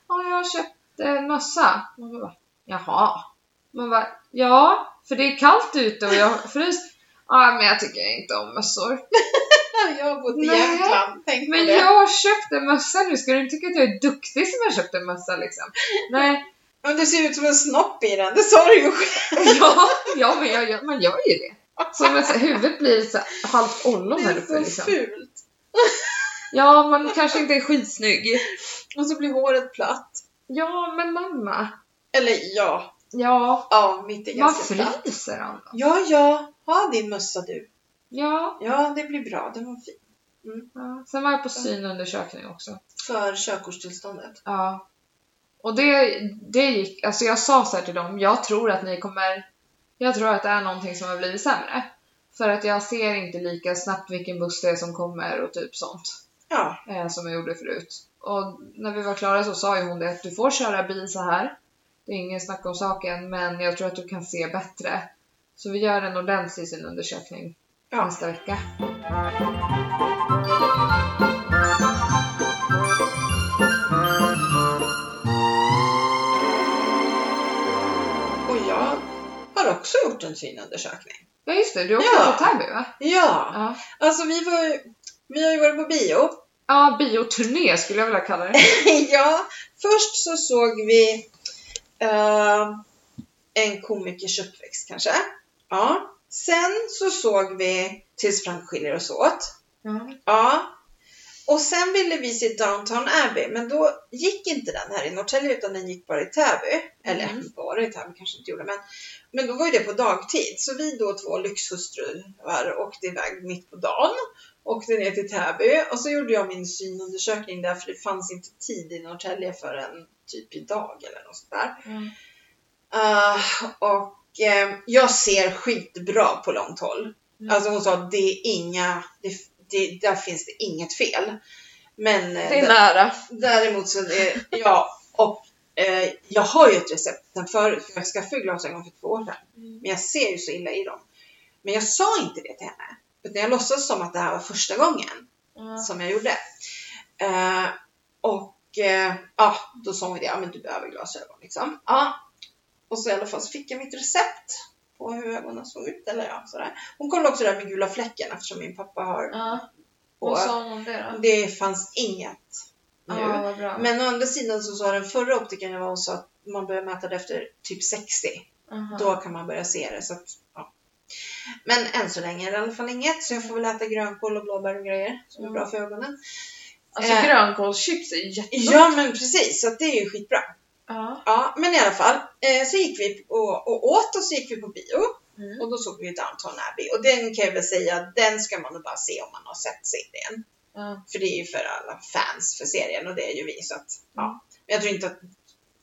Ja, jag har köpt en mössa. Mamma bara, jaha. Man bara, ja, för det är kallt ute och jag fryser. Ja, men jag tycker inte om mössor. Jag har bott i Nej. Jämtland, tänk på Men det. jag har köpt en mössa nu, ska du inte tycka att jag är duktig som har köpt en mössa liksom? Nej, Men du ser ut som en snopp i den, det sa du ju själv. ja, ja men jag, gör- man gör ju det. Så men, så, huvudet blir så här halvt ollon Det här är uppe så liksom. fult. Ja, man kanske inte är skitsnygg. Och så blir håret platt. Ja, men mamma. Eller ja, Ja, ja, mitt är Man ganska platt. fryser han då? Ja, ja, ha din mössa du. Ja. Ja, det blir bra, den var fin. ja. Sen var jag på synundersökning också. För körkortstillståndet. Ja. Och det, det gick, alltså jag sa så här till dem, jag tror att ni kommer, jag tror att det är någonting som har blivit sämre. För att jag ser inte lika snabbt vilken buss det är som kommer och typ sånt. Ja, Eh, som jag gjorde förut. Och när vi var klara så sa ju hon det att du får köra bil så här. Det är ingen snack om saken, men jag tror att du kan se bättre. Så vi gör en ordentlig synundersökning ja. nästa vecka. Och jag har också gjort en synundersökning. Ja just det, du åkte Ja. till Täby va? Ja, Ja. alltså vi var ju, vi har ju varit på bio. Ja, bioturné skulle jag vilja kalla det. ja, först så såg vi eh, en komikers uppväxt kanske. Ja. Sen så såg vi Tills Frank skiljer oss åt. Ja. Ja. Och sen ville vi se Downton Abbey, men då gick inte den här i Norrtälje utan den gick bara i Täby. Eller Mm. bara i Täby kanske inte gjorde, men, men då var ju det på dagtid. Så vi då två lyxhustruar åkte iväg mitt på dagen, åkte ner till Täby och så gjorde jag min synundersökning där för det fanns inte tid i Norrtälje förrän typ idag eller något sånt där. Ah, och eh, jag ser skitbra på långt håll. Mm. Alltså hon sa det är inga, det, det, där finns det inget fel. Men eh, Det är nära. däremot så är ja, och eh, jag har ju ett recept sen förut för jag skaffade ju glasögon för två år sedan. Men jag ser ju så illa i dem. Men jag sa inte det till henne. Utan jag låtsades som att det här var första gången som jag gjorde. Eh, och eh, ja, då sa hon det, ja men du behöver glasögon liksom. Ja. Och så i alla fall så fick jag mitt recept på hur ögonen såg ut eller ja, sådär. Hon kollade också det här med gula fläcken eftersom min pappa har Ja. och Vad sa hon det då? det fanns inget nu. Ja, vad bra. Men å andra sidan så sa den förra optikern jag var hos att man börjar mäta det efter typ 60. Aha. Då kan man börja se det. Så att, ja. Men än så länge är det i alla fall inget. Så jag får väl äta grönkål och blåbär och grejer som är bra för ögonen. Alltså eh. grönkålschips är jättegott. Ja men precis, så att det är ju skitbra. Ja. Ja, men i alla fall. Eh, så gick vi och, och åt och så gick vi på bio. Mm. Och då såg vi ju Downton Abbey. Och den kan jag väl säga, den ska man nog bara se om man har sett serien. Ja. För det är ju för alla fans för serien och det är ju vi. Så att, ja. Men jag tror inte att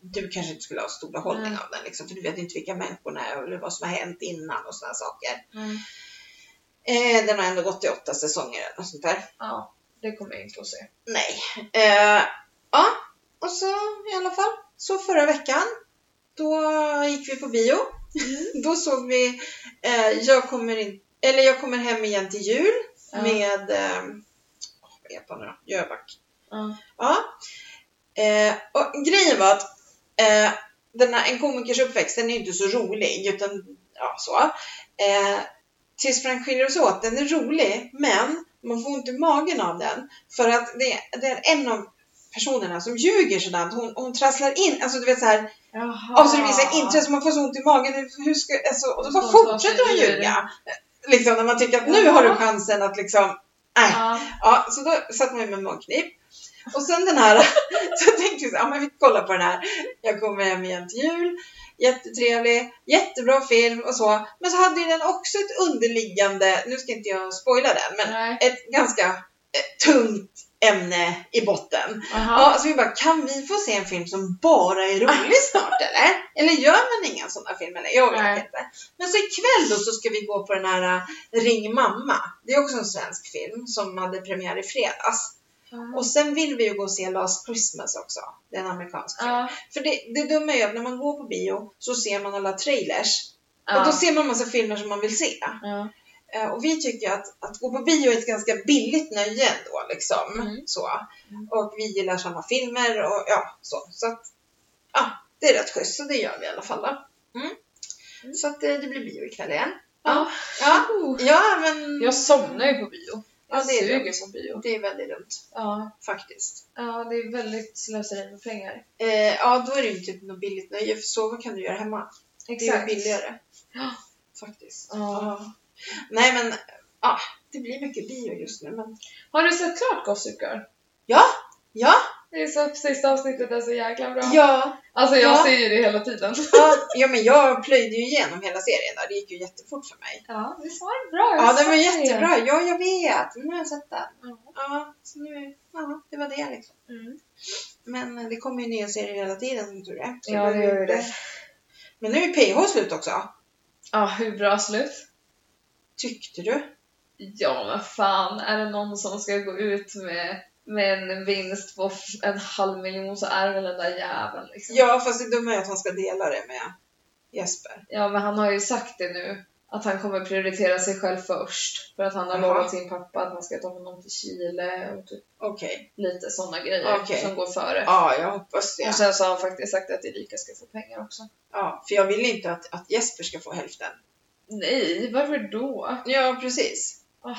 du kanske inte skulle ha stor behållning Nej. av den. Liksom, för du vet inte vilka människorna är eller vad som har hänt innan och sådana saker. Mm. Eh, den har ändå gått i åtta säsonger eller något sånt där. ja, det kommer jag inte att se. Nej. Eh, ja, och så i alla fall. Så förra veckan, då gick vi på bio. Då såg vi eh, jag, kommer in, eller jag kommer hem igen till jul Ja. med eh, åh, vad heter han nu då? Jöback. Ja. Ja. Eh, och grejen var att eh, den här, en komikers uppväxt den är ju inte så rolig utan ja, så. Eh, tills man skiljer sig åt, den är rolig men man får ont i magen av den för att det, det är en av personerna som ljuger sådant. Hon, hon trasslar in, alltså du vet såhär Jaha. och så det blir så här intresse, man får så ont i magen. Hur ska, alltså, och Och så bara så Ah. tar fortsätter hon sig ur. ljuga. Liksom när man tycker att nu har du chansen att liksom, nej. Ja. Ja, så då satt man ju med munknip. Och sen den här, så tänkte vi så här, ja men vi kollar på den här. Jag kommer hem igen till jul. Jättetrevlig, jättebra film och så. Men så hade ju den också ett underliggande, nu ska inte jag spoila den, men Nej. ett ganska eh, tungt ämne i botten. Aha. Ja, så vi bara, kan vi få se en film som bara är rolig snart eller? Eller gör man inga sådana filmer? Eller? Jag vet Nej. inte. Men så ikväll då så ska vi gå på den här eh, Ring mamma. Det är också en svensk film som hade premiär i fredags. Mm. Och sen vill vi ju gå och se Last Christmas också. Det är en amerikansk film. Ja. För det, det dumma är ju att när man går på bio så ser man alla trailers. Ja. Och då ser man massa filmer som man vill se. Ja. Eh, Och vi tycker att, att gå på bio är ett ganska billigt nöje ändå liksom. Mm. Så. Mm. Och vi gillar samma filmer och ja, så. Så att, ja, det är rätt schysst så det gör vi i alla fall då. Mm. Mm. Så att eh, det blir bio ikväll igen. Ja. Ja, Oh. ja men Jag somnar ju på bio. Ja, Jag det är suger dumt. på bio. det är väldigt dumt Ja. faktiskt. ja, det är väldigt slöseri med pengar. Eh, ja, då är det ju inte något billigt nöje för sova kan du göra hemma. Det är ju billigare. Ja. Faktiskt. Ja. Nej men, ja, det blir mycket bio just nu men Har du sett klart Gossip Girl? Ja, ja. Det är så, sista avsnittet är så jäkla bra. ja. Alltså jag Ja. ser ju det hela tiden. Ja, ja, men jag plöjde ju igenom hela serien där. Det gick ju jättefort för mig. Ja, visst var den bra? Ja, den var jättebra. Ja, jag vet. Nu har jag sett den. Ja. Ja, så nu, ja, det var det liksom. Mm. Men det kommer ju nya serier hela tiden som tur är. Så Ja, det gör ju det. Men nu är PH slut också. Ja, hur bra slut? Tyckte du? Ja, men fan. Är det någon som ska gå ut med, med en vinst på f- en halv miljon så är det väl den där jäveln. Liksom. Ja, fast det dumma är att han ska dela det med Jesper. Ja, men han har ju sagt det nu. Att han kommer prioritera sig själv först. För att han har Jaha. lovat sin pappa att han ska ta honom till Chile och typ Okej. lite sådana grejer Okej. som går före. Ja, jag hoppas det. Och sen så har han faktiskt sagt att Erika ska få pengar också. Ja, för jag vill inte att, att Jesper ska få hälften. Nej, varför då? Ja, precis. Ah.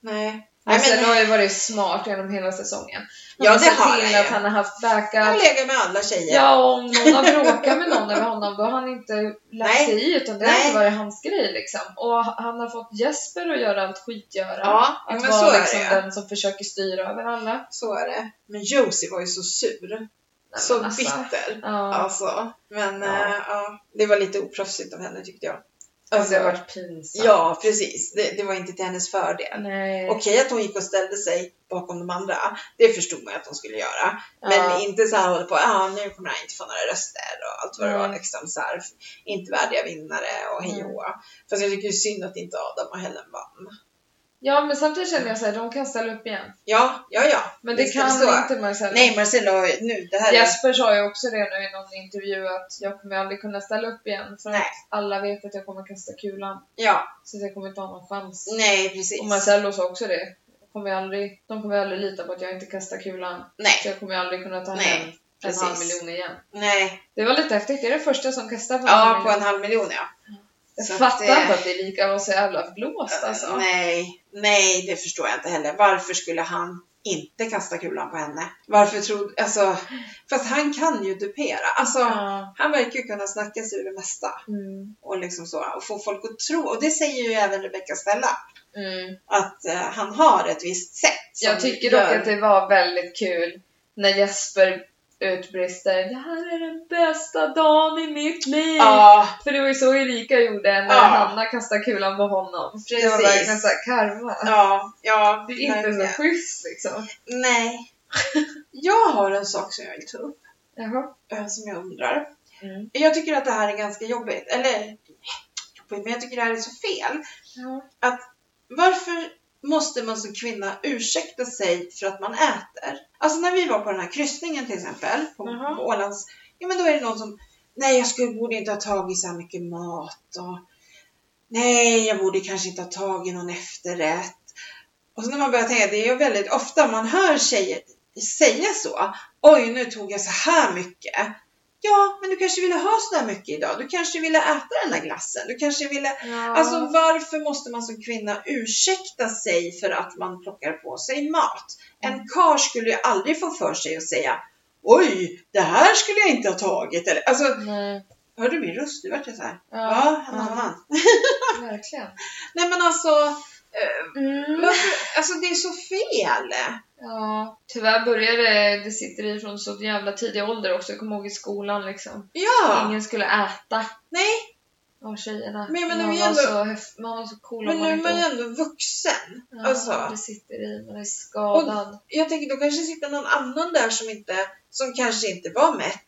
Nej. Nej, Lasse men har ju varit smart genom hela säsongen. Han Ja, har det sett har till han att ju. han har haft han backup. lägger med alla tjejer. Ja, och om någon har bråkat med någon eller honom då har han inte lagt Nej. sig i utan det Nej. har inte varit hans grej liksom. Och han har fått Jesper att göra allt skitgöra. ja Att men så vara är liksom det ju. den som försöker styra över alla. Så är det. Men Josie var ju så sur. Nej, så men alltså, bitter. Ja. Alltså. Men Ja. eh, ja, det var lite oproffsigt av henne tyckte jag. Alltså, det har Alltså, varit pinsamt. ja, precis. Det, det var inte till hennes fördel. Nej. Okej att hon gick och ställde sig bakom de andra, det förstod man ju att hon skulle göra. Ja. Men inte så här hålla på, ah, nu kommer han inte få några röster och allt vad det var Nej. Mm. liksom så här, inte värdiga vinnare och hej och hå. Fast jag tycker ju synd att inte Adam och Helen vann. ja, men samtidigt känner jag såhär, de kan ställa upp igen. Ja, ja, ja. Men det Visst är kan så. inte Marcella. Nej, Marcelo, nu, det här är Jesper sa ju också det nu i någon intervju att jag kommer aldrig kunna ställa upp igen för Nej. att alla vet att jag kommer kasta kulan. Ja, Så att jag kommer inte ha någon chans. nej precis. Och Marcello sa också det. Jag kommer ju aldrig, de kommer ju aldrig lita på att jag inte kastar kulan. Nej, Så jag kommer ju aldrig kunna ta hem nej, en halv precis. miljon igen. Nej, Det var lite häftigt. Det är det första som kastar på ja halv på miljon. en halv miljon ja. så Jag att fattar det- inte att det är lika var så jävla blåst alltså. Nej, nej det förstår jag inte heller. Varför skulle han inte kasta kulan på henne? Varför trodde, alltså, fast han kan ju dupera. Alltså, Ja. han verkar ju kunna snacka sig ur det mesta Mm. och liksom så och få folk att tro. Och det säger ju även Rebecca Stella, Mm. att eh, han har ett visst sätt. som Jag tycker dock gör- att det var väldigt kul när Jesper utbrister Det här är den bästa dagen i mitt liv! Ja, För det var ju så Erika gjorde när Ja. Hanna kastade kulan på honom. Det var Precis. verkligen såhär karma. ja, ja. Det är inte verkligen. så schysst liksom. Nej. Jag har en sak som jag vill ta upp, Jaha. eh, som jag undrar. Mm. Jag tycker att det här är ganska jobbigt. Eller jobbigt, men jag tycker det här är så fel. Ja. Varför måste man som kvinna ursäkta sig för att man äter? Alltså när vi var på den här kryssningen till exempel, på, Jaha. på Ålands, ja men då är det någon som nej jag skulle, borde inte ha tagit så här mycket mat och nej, jag borde kanske inte ha tagit någon efterrätt. Och så när man börjar tänka, det är ju väldigt ofta man hör tjejer säga så. Oj, nu tog jag så här mycket. Ja, men du kanske ville ha så där mycket idag. Du kanske ville äta den där glassen. Du kanske ville Ja. Alltså varför måste man som kvinna ursäkta sig för att man plockar på sig mat? En karl skulle ju aldrig få för sig att säga Oj, det här skulle jag inte ha tagit. Eller, alltså, Nej. hör du min röst? Nu vart jag så här. Ja, han har ja, han. verkligen. Nej men alltså, eh, varför, alltså det är så fel. Mm. Ja, tyvärr börjar det, det sitter i från så jävla tidig ålder också. Jag kommer ihåg i skolan liksom. Ja, Ingen skulle äta nej, av tjejerna. Men jag menar, man, vi var ändå- så häf- man var så cool men om nu man är man ju inte ändå vuxen. ja, alltså. Det sitter i, man är skadad. Jag tänker då kanske sitter någon annan där som, inte, som kanske inte var mätt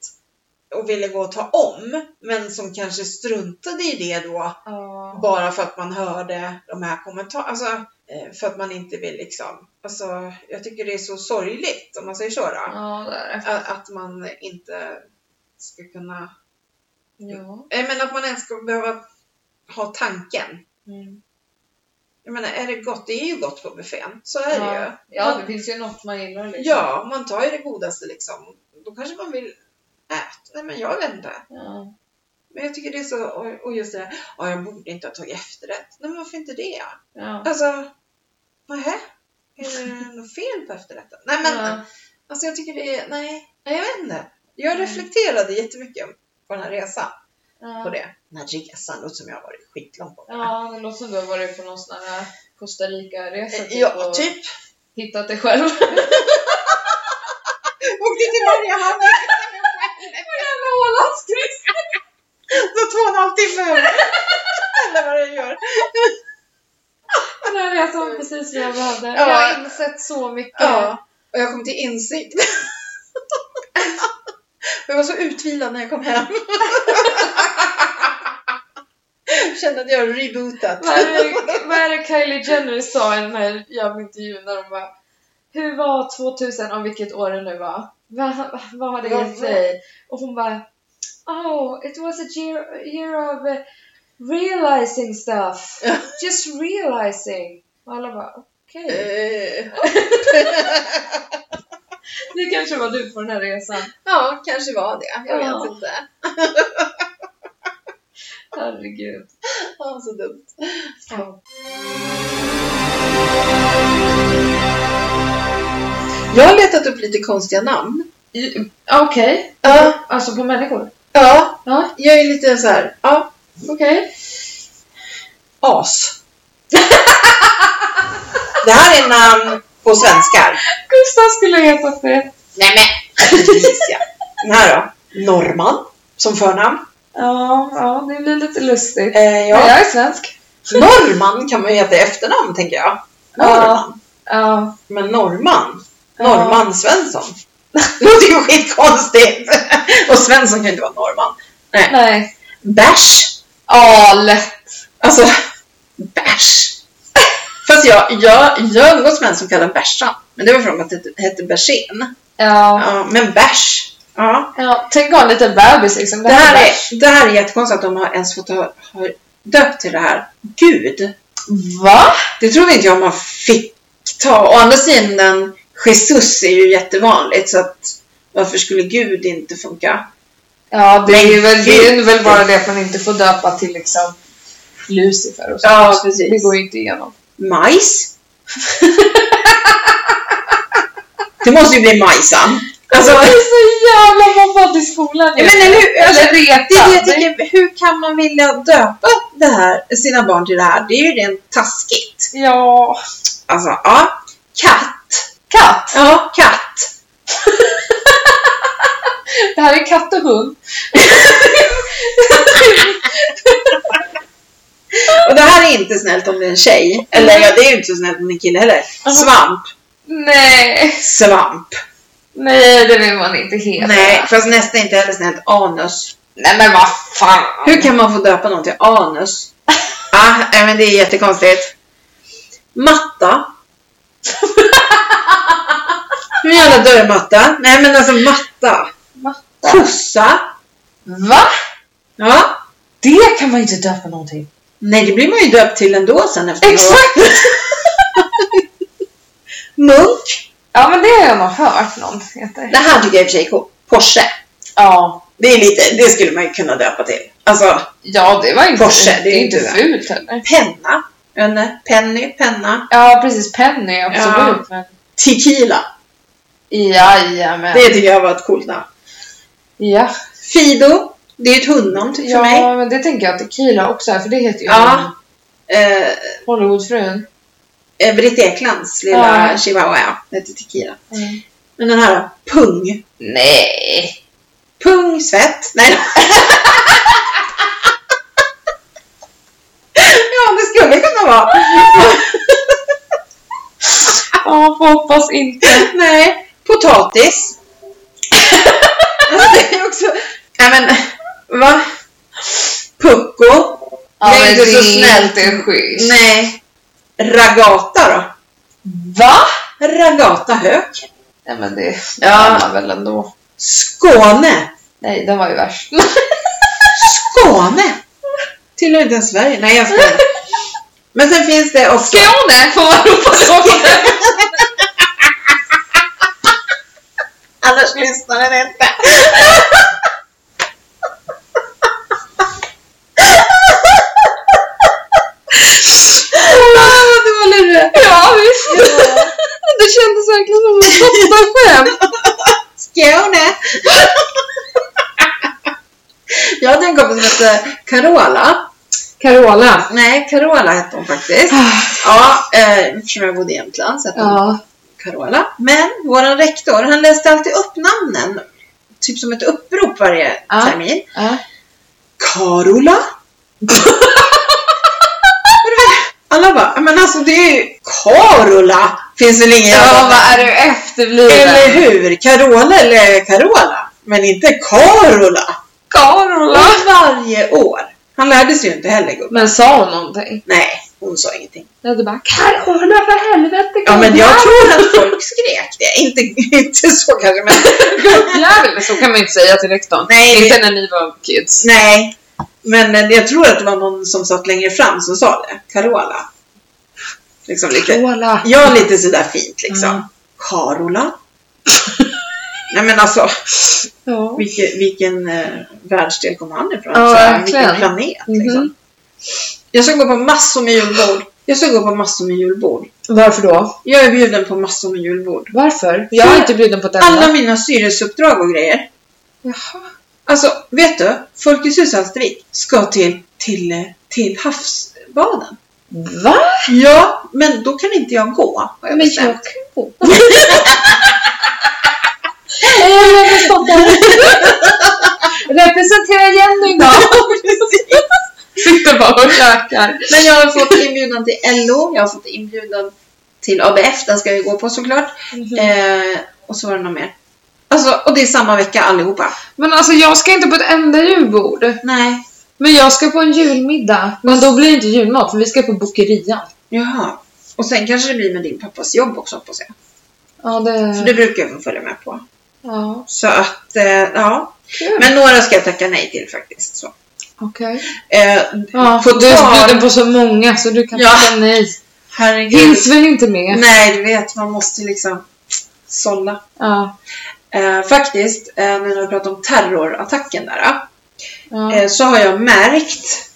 och ville gå och ta om, men som kanske struntade i det då Ja. Bara för att man hörde de här kommentarerna. Alltså, eh, för att man inte vill liksom. Alltså, jag tycker det är så sorgligt om man säger så då. ja, där. är- Att, att man inte ska kunna. Ja. Jag menar att man ens ska behöva ha tanken. Mm. Jag menar, är det gott? Det är ju gott på buffén. Så är det ju. Ja. ja, det finns ju något man gillar liksom. Ja, man tar ju det godaste liksom. Då kanske man vill äta. Nej, men jag vet inte. Ja. Men jag tycker det är så, och- och just det här, "Ja, jag borde inte ha tagit efterrätt. Nej, men varför inte det? Ja. Alltså, nähä? Är det något fel på efterrätten? Nej men, Ja. alltså jag tycker det är, nej, nej jag vet inte. Jag Nej. reflekterade jättemycket på den här resan, på Ja. det. Den här resan, låter som jag har varit skitlång på. ja, det låter som du har varit på någon sån här Costa Rica-resa Eh, Ja, och typ. hittat dig själv. Åkte till Mariehamn, Jävla Ålandskryss! så två och en halv timme. Eller vad det gör. Den här resan var precis vad jag behövde. Ja. Jag har insett så mycket. Ja, Eh, och jag kom till insikt. Och jag var så utvilad när jag kom hem. Kände att jag har rebootat. Vad är, det, vad är det Kylie Jenner sa i den här jävla intervjun när de bara Hur var 2000, om vilket år det nu var? Vad va, vad har det Vad gett var- dig? Och hon bara Oh, it was a year, year of eh, realizing stuff. Just realizing. Och alla bara okej. Eh, Det kanske var du på den här resan. Ja, kanske var det. Jag Ja. vet inte. Herregud. Ja, så dumt. Ja. Jag har letat upp lite konstiga namn. I- Okej. Ja, Alltså på människor? ja. Ja. Jag är lite så här, ja, Okej. as. Det här är namn på svenskar. Gustav skulle ha hetat det. Nej men! Precis, ja. Den här då? Norman, som förnamn. Ja, ja, det blir lite lustigt. Eh, Men ja. jag är svensk. Norman kan man ju heta i efternamn, tänker jag. Norman. Ja. Men Norman? Ja. Norman Svensson? Det låter ju skitkonstigt! Och Svensson kan ju inte vara norrman. Nej. Bärs? Ja, lätt. Alltså, bärs. Fast jag, jag, jag umgås med en som kallar Bärsan. Men det var för att han hette- hette Bärsén. Ja. Ja, men bärs. Ja. ja. Tänk att ha en liten bebis liksom. Det här, är, det här är jättekonstigt att de har ens fått ha, har döpt till det här. Gud! Va? Det trodde inte jag man fick ta. Å andra sidan, Jesus är ju jättevanligt så att varför skulle Gud inte funka? Ja, det är, Men väl, det är gud. väl bara det att man inte får döpa till liksom Lucifer och så. Ja, precis. Det går ju inte igenom. Majs? det måste ju bli Majsan. Alltså, det är så jävla mobbad i skolan Ja, men eller hur? Alltså, Eller reta. det är det jag tycker, hur kan man vilja döpa det här, sina barn till det här? Det är ju rent taskigt. Ja. Alltså, ja. Katt. Katt. Ja, katt. Det här är katt och hund. Och det här är inte snällt om det är en tjej. Eller ja, det är ju inte så snällt om det är en kille heller. Svamp. Nej. Svamp. Nej, det vill man inte heta. Nej, fast nästan inte heller snällt. Anus. Nej men vad fan. Hur kan man få döpa någon till anus? ah, nej, men det är jättekonstigt. Matta. Hur jävla dörrmatta? Nej men alltså matta. Matta. Kossa. Va? Ja. Det kan man ju inte döpa någon till. Nej, det blir man ju döpt till ändå sen efter Exakt! Munk. Ja men det har jag nog hört någon heter. Det här tycker jag i och för sig är coolt. Porsche. Ja. Det är lite, det skulle man ju kunna döpa till. Alltså, Ja det var inte, Porsche, det det är är inte du. fult heller. penna. En penny, penna. Ja precis, Penny absolut. Men... Tequila. Jajamän. Det tycker jag var ett coolt namn. Ja. Fido. Det är ett hundnamn för ja mig. men det tänker jag att Tequila också är för det heter ju Ja. Eh, Hollywoodfrun. eh, Britt Eklands lilla Ja. chihuahua. Ja, det heter Tequila. Men den här då? Pung. Nej! Pung Svett. Nej. ja, det skulle kunna vara. Ja, får hoppas inte. Nej. Potatis. alltså, det är också... Nej men, va? Pucko. Ja, det är men inte så det är snällt. inte schysst. Nej. Ragata då? Va? Ragata Hök. Nej men det Ja. ja. man väl ändå. Skåne. Nej, den var ju värst. Skåne! Tillhör inte ens Sverige. Nej, jag skojar. Men sen finns det också... Skåne får man ropa så! Annars lyssnar den inte. Åh, Ah, det var lurigt. Ja, visst! Det kändes verkligen som ett toppenskämt. Skåne! Jag hade en kompis som hette Carola. Carola. Nej, Carola hette hon faktiskt. Ja, eh, eftersom jag bodde i Jämtland så hette hon Ja. Carola. Men vår rektor, han läste alltid upp namnen. Typ som ett upprop varje Ja. termin. ja. Carola? Alla bara, "Ja, men alltså det är ju Carola! Finns väl ingen Ja, jävla- vad är du Eller efterbliven? hur? Carola eller Carola? Men inte Carola! Carola! Och varje år. Han lärde sig ju inte heller gubben. Men sa hon någonting? Nej, hon sa ingenting. Jag hade bara Carola för helvete! Ja men jag tror att folk skrek det. Inte, inte så kanske men Gubbjävel! Så kan man ju inte säga till rektorn. Nej, Inte när ni var kids. Nej, men eh, jag tror att det var någon som satt längre fram som sa det. Carola. Liksom lite, Carola. ja, lite sådär fint liksom. Mm. Carola? Nej men alltså, Ja. vilken, vilken eh, världsdel kom han ifrån? Ja, Så här, verkligen. vilken planet liksom. Mhm. Jag ska gå på massor med julbord. Jag ska gå på massor med julbord. Varför då? Jag är bjuden på massor med julbord. Varför? Jag är inte bjuden på ett enda. Alla mina styrelseuppdrag och grejer. Jaha. Alltså, vet du? Folkets hus Hallstavik ska till, till, eh, till havsbaden. Va? Ja, men då kan inte jag gå. har jag Men bestämt. jag kan gå. Jag har förstått Representera Jenny idag. Sitter bara och käkar. men jag har fått inbjudan till LO, jag har fått inbjudan till ABF, den ska jag ju gå på såklart. Eh, och så var det någon mer. Alltså, och det är samma vecka allihopa. Men alltså jag ska inte på ett enda julbord. Nej. Men jag ska på en julmiddag. Men då blir det inte julmat för vi ska på Bokerian. Jaha. Och sen kanske det blir med din pappas jobb också hoppas jag. Ja, det... För det brukar jag få följa med på. Ja, Så att, eh, ja. kul. Men några ska jag tacka nej till faktiskt. Så. Okej. Eh, Ja, på du är tal- bjuden på så många så du kan Ja. säga nej. Herregud. Hinns väl inte med? Nej, du vet, man måste liksom sålla. Ja. Eh, faktiskt, eh, när vi pratar om terrorattacken där, ja. eh, så har jag märkt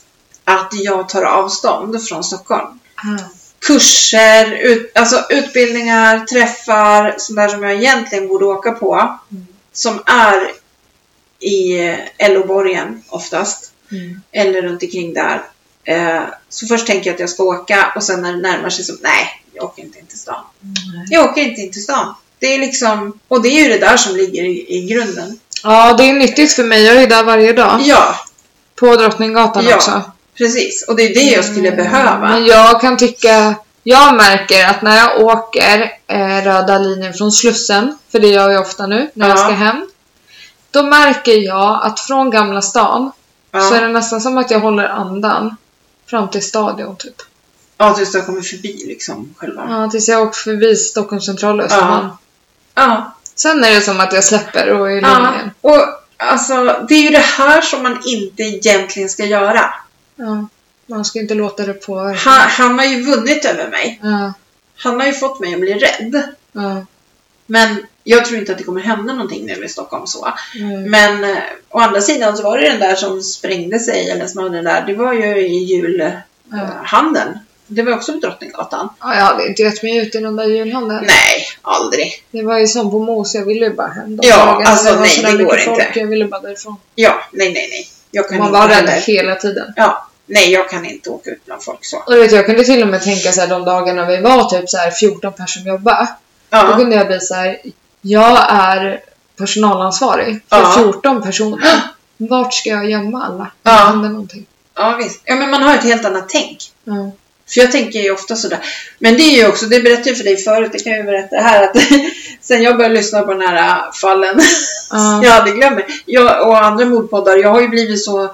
att jag tar avstånd från Stockholm. Ah. Kurser, ut, alltså utbildningar, träffar, sånt där som jag egentligen borde åka på, Mm. som är i eh, LO-borgen oftast, Mm. eller runt omkring där. Eh, så först tänker jag att jag ska åka och sen när det närmar sig så, nej, jag åker inte in till stan. Jag åker inte in till stan. Det är liksom, och det är ju det där som ligger i, i grunden. Ja, det är nyttigt för mig. Jag är ju där varje dag. Ja, På Drottninggatan Ja. också. precis. Och det är det jag skulle behöva. Mm. Men jag kan tycka... Jag märker att när jag åker eh, röda linjen från Slussen, för det gör jag ofta nu när jag Ja. ska hem. Då märker jag att från Gamla stan så är Ja, det nästan som att jag håller andan fram till stadion typ. ja tills jag kommer förbi liksom själva. Ja, tills jag åker förbi Stockholms central och Östermalm. Ja. Sen är det som att jag släpper och är lugn ja. igen. Och Alltså, det är ju det här som man inte egentligen ska göra. Ja. Man ska inte låta det påverka. Han, han har ju vunnit över mig. Ja, Han har ju fått mig att bli rädd. ja, Men jag tror inte att det kommer hända någonting nu i Stockholm så. mm, Men eh, å andra sidan så var det den där som sprängde sig, eller som hade den där, det var ju i ja. julhandeln. Det var också på Drottninggatan. Ja, jag hade inte gett mig ut i någon där julhandeln. Nej, aldrig. Det var ju som på Mos, jag ville ju bara hem de Ja, dagarna. alltså, var nej, sådär det går mycket folk, inte. Jag ville bara därifrån. Ja, nej, nej, nej. Jag kan Man inte var rädd heller- hela tiden. Ja, nej, jag kan inte åka ut bland folk så. Och du vet, jag kunde till och med tänka så här, de dagarna vi var typ så här 14 personer som jobbade. Då Ja, kunde jag bli så här, jag är personalansvarig för Ja. 14 personer. Vart ska jag gömma alla? Ja. Om det händer någonting. ja visst. Ja, men man har ett helt annat tänk. Ja. För jag tänker ju ofta sådär. Men det är ju också, det berättade jag för dig förut, det kan jag ju berätta här, att sen jag började lyssna på den här äh, fallen, Ja. jag hade glömt mig. Jag och andra mordpoddar, jag har ju blivit så,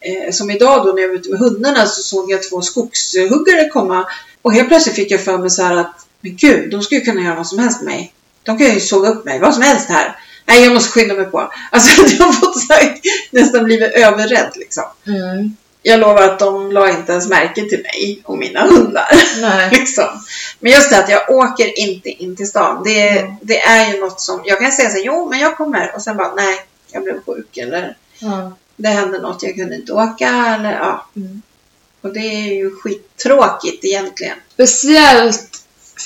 eh, som idag då när jag var ute med hundarna så såg jag två skogshuggare komma och helt plötsligt fick jag för mig så här att, men gud, de skulle ju kunna göra vad som helst med mig. De kan ju såga upp mig, vad som helst här. Nej, jag måste skynda mig på. Alltså, jag har fått så här, nästan blivit överrädd liksom. Mm. Jag lovar att de la inte ens märke till mig och mina hundar. Nej. Liksom. Men just det att jag åker inte in till stan. Det, Mm. det är ju något som, jag kan säga så här, jo men jag kommer och sen bara nej, jag blev sjuk eller Ja. det hände något, jag kunde inte åka eller ja. Mm. Och det är ju skittråkigt egentligen. Speciellt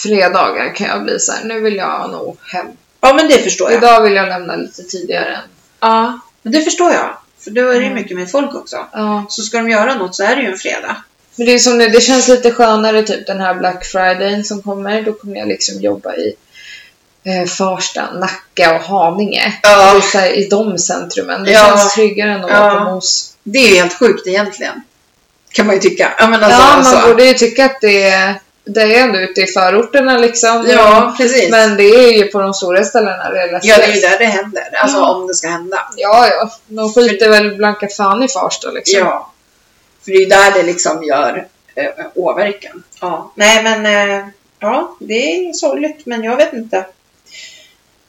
fredagar kan jag bli så här, nu vill jag nog hem. Ja men det förstår jag. Idag vill jag lämna lite tidigare än... Ja, men det förstår jag. För då är det ju Mm. mycket mer folk också. Ja. Så ska de göra något så är det ju en fredag. Men det är som nu, det känns lite skönare typ den här Black Fridayn som kommer. Då kommer jag liksom jobba i eh, Farsta, Nacka och Haninge. Det är så här, I de centrumen. Det Ja. känns tryggare än att Ja. åka mos. Det är ju helt sjukt egentligen. Kan man ju tycka. Ja men alltså. ja, man alltså. borde ju tycka att det är, det är ändå ute i förorterna liksom. ja precis. Men det är ju på de stora ställena det är lättare. Ja, det är ju där det händer. Alltså Ja. om det ska hända. Ja, ja. De skiter väl blanka fan i Farsta liksom. Ja. För det är ju där det liksom gör eh, åverkan. Ja. Nej, men eh, ja, det är sorgligt, men jag vet inte.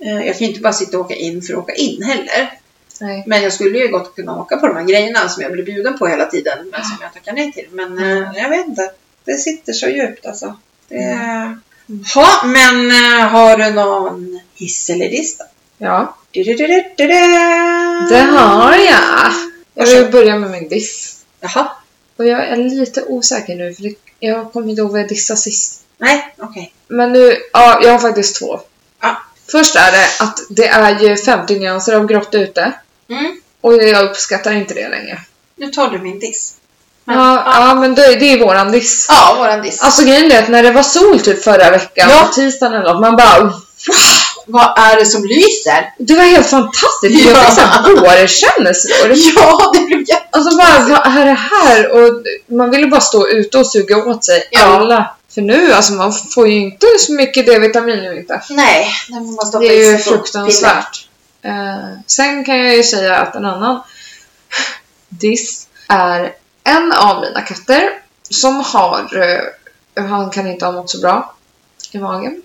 Eh, jag kan ju inte bara sitta och åka in för att åka in heller. Nej. Men jag skulle ju gott kunna åka på de här grejerna som jag blir bjuden på hela tiden, men som jag tackar nej till. Men eh, jag vet inte. Det sitter så djupt alltså. Det... Ha, men eh, har du någon hiss eller diss då? Ja, Du-du-du-du-du-du. det har jag. Jag vill Varsågod. börja med min diss. Jaha. Och jag är lite osäker nu för det, jag kommer inte ihåg vad jag dissade sist. Nej, okej. Men nu, ja, jag har faktiskt två. Ja. Först är det att det är ju 50 nyanser av grått ute. Mm. Och jag uppskattar inte det längre. Nu tar du min diss. Ja, ja. men det, det är våran diss. Ja, våran diss. Alltså grejen är att när det var sol typ förra veckan, Ja. på tisdagen eller något, man bara "Wow, vad är det som lyser? Det var helt fantastiskt! Jag Ja. fick såhär vårkänslor. Ja, det blev jätte... Alltså bara, vad är det här? Och man ville bara stå ute och suga åt sig Ja. alla. För nu, alltså man får ju inte så mycket D-vitamin nu inte. Nej, när man bara stoppar Det är i ju sig piller. fruktansvärt. Eh, sen kan jag ju säga att en annan diss är en av mina katter som har, eh, han kan inte ha mått så bra i magen.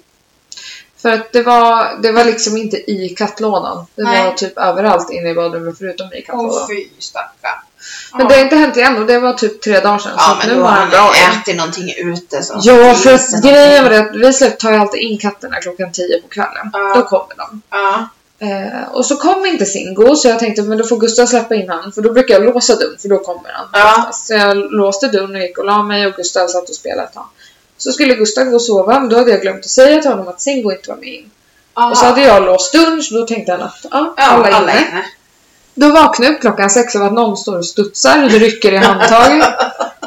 För att det var, det var liksom inte i kattlådan. Det var Nej. typ överallt inne i badrummet förutom i kattlådan. Åh fy stackarn. Men det har inte hänt igen och det var typ tre dagar sedan. så Ja, att men nu då var har han bra igen. han ätit någonting ute. Så Ja, för Lyser att grejen var någonting. det att vi släpp- tar ju alltid in katterna klockan 10 på kvällen. Ja. Då kommer de. Ja, Eh, och så kom inte Singo så jag tänkte men då får Gustav släppa in han för då brukar jag låsa dörren för då kommer han. ja, Så jag låste dörren och gick och la mig och Gustav satt och spelade ett tag. Så skulle Gustav gå och sova men då hade jag glömt att säga till honom att Singo inte var med in. ja. Och så hade jag låst dörren så då tänkte han att Ah. ja, alla, är inne. Då vaknar jag upp klockan sex av att någon står och studsar och rycker i handtaget.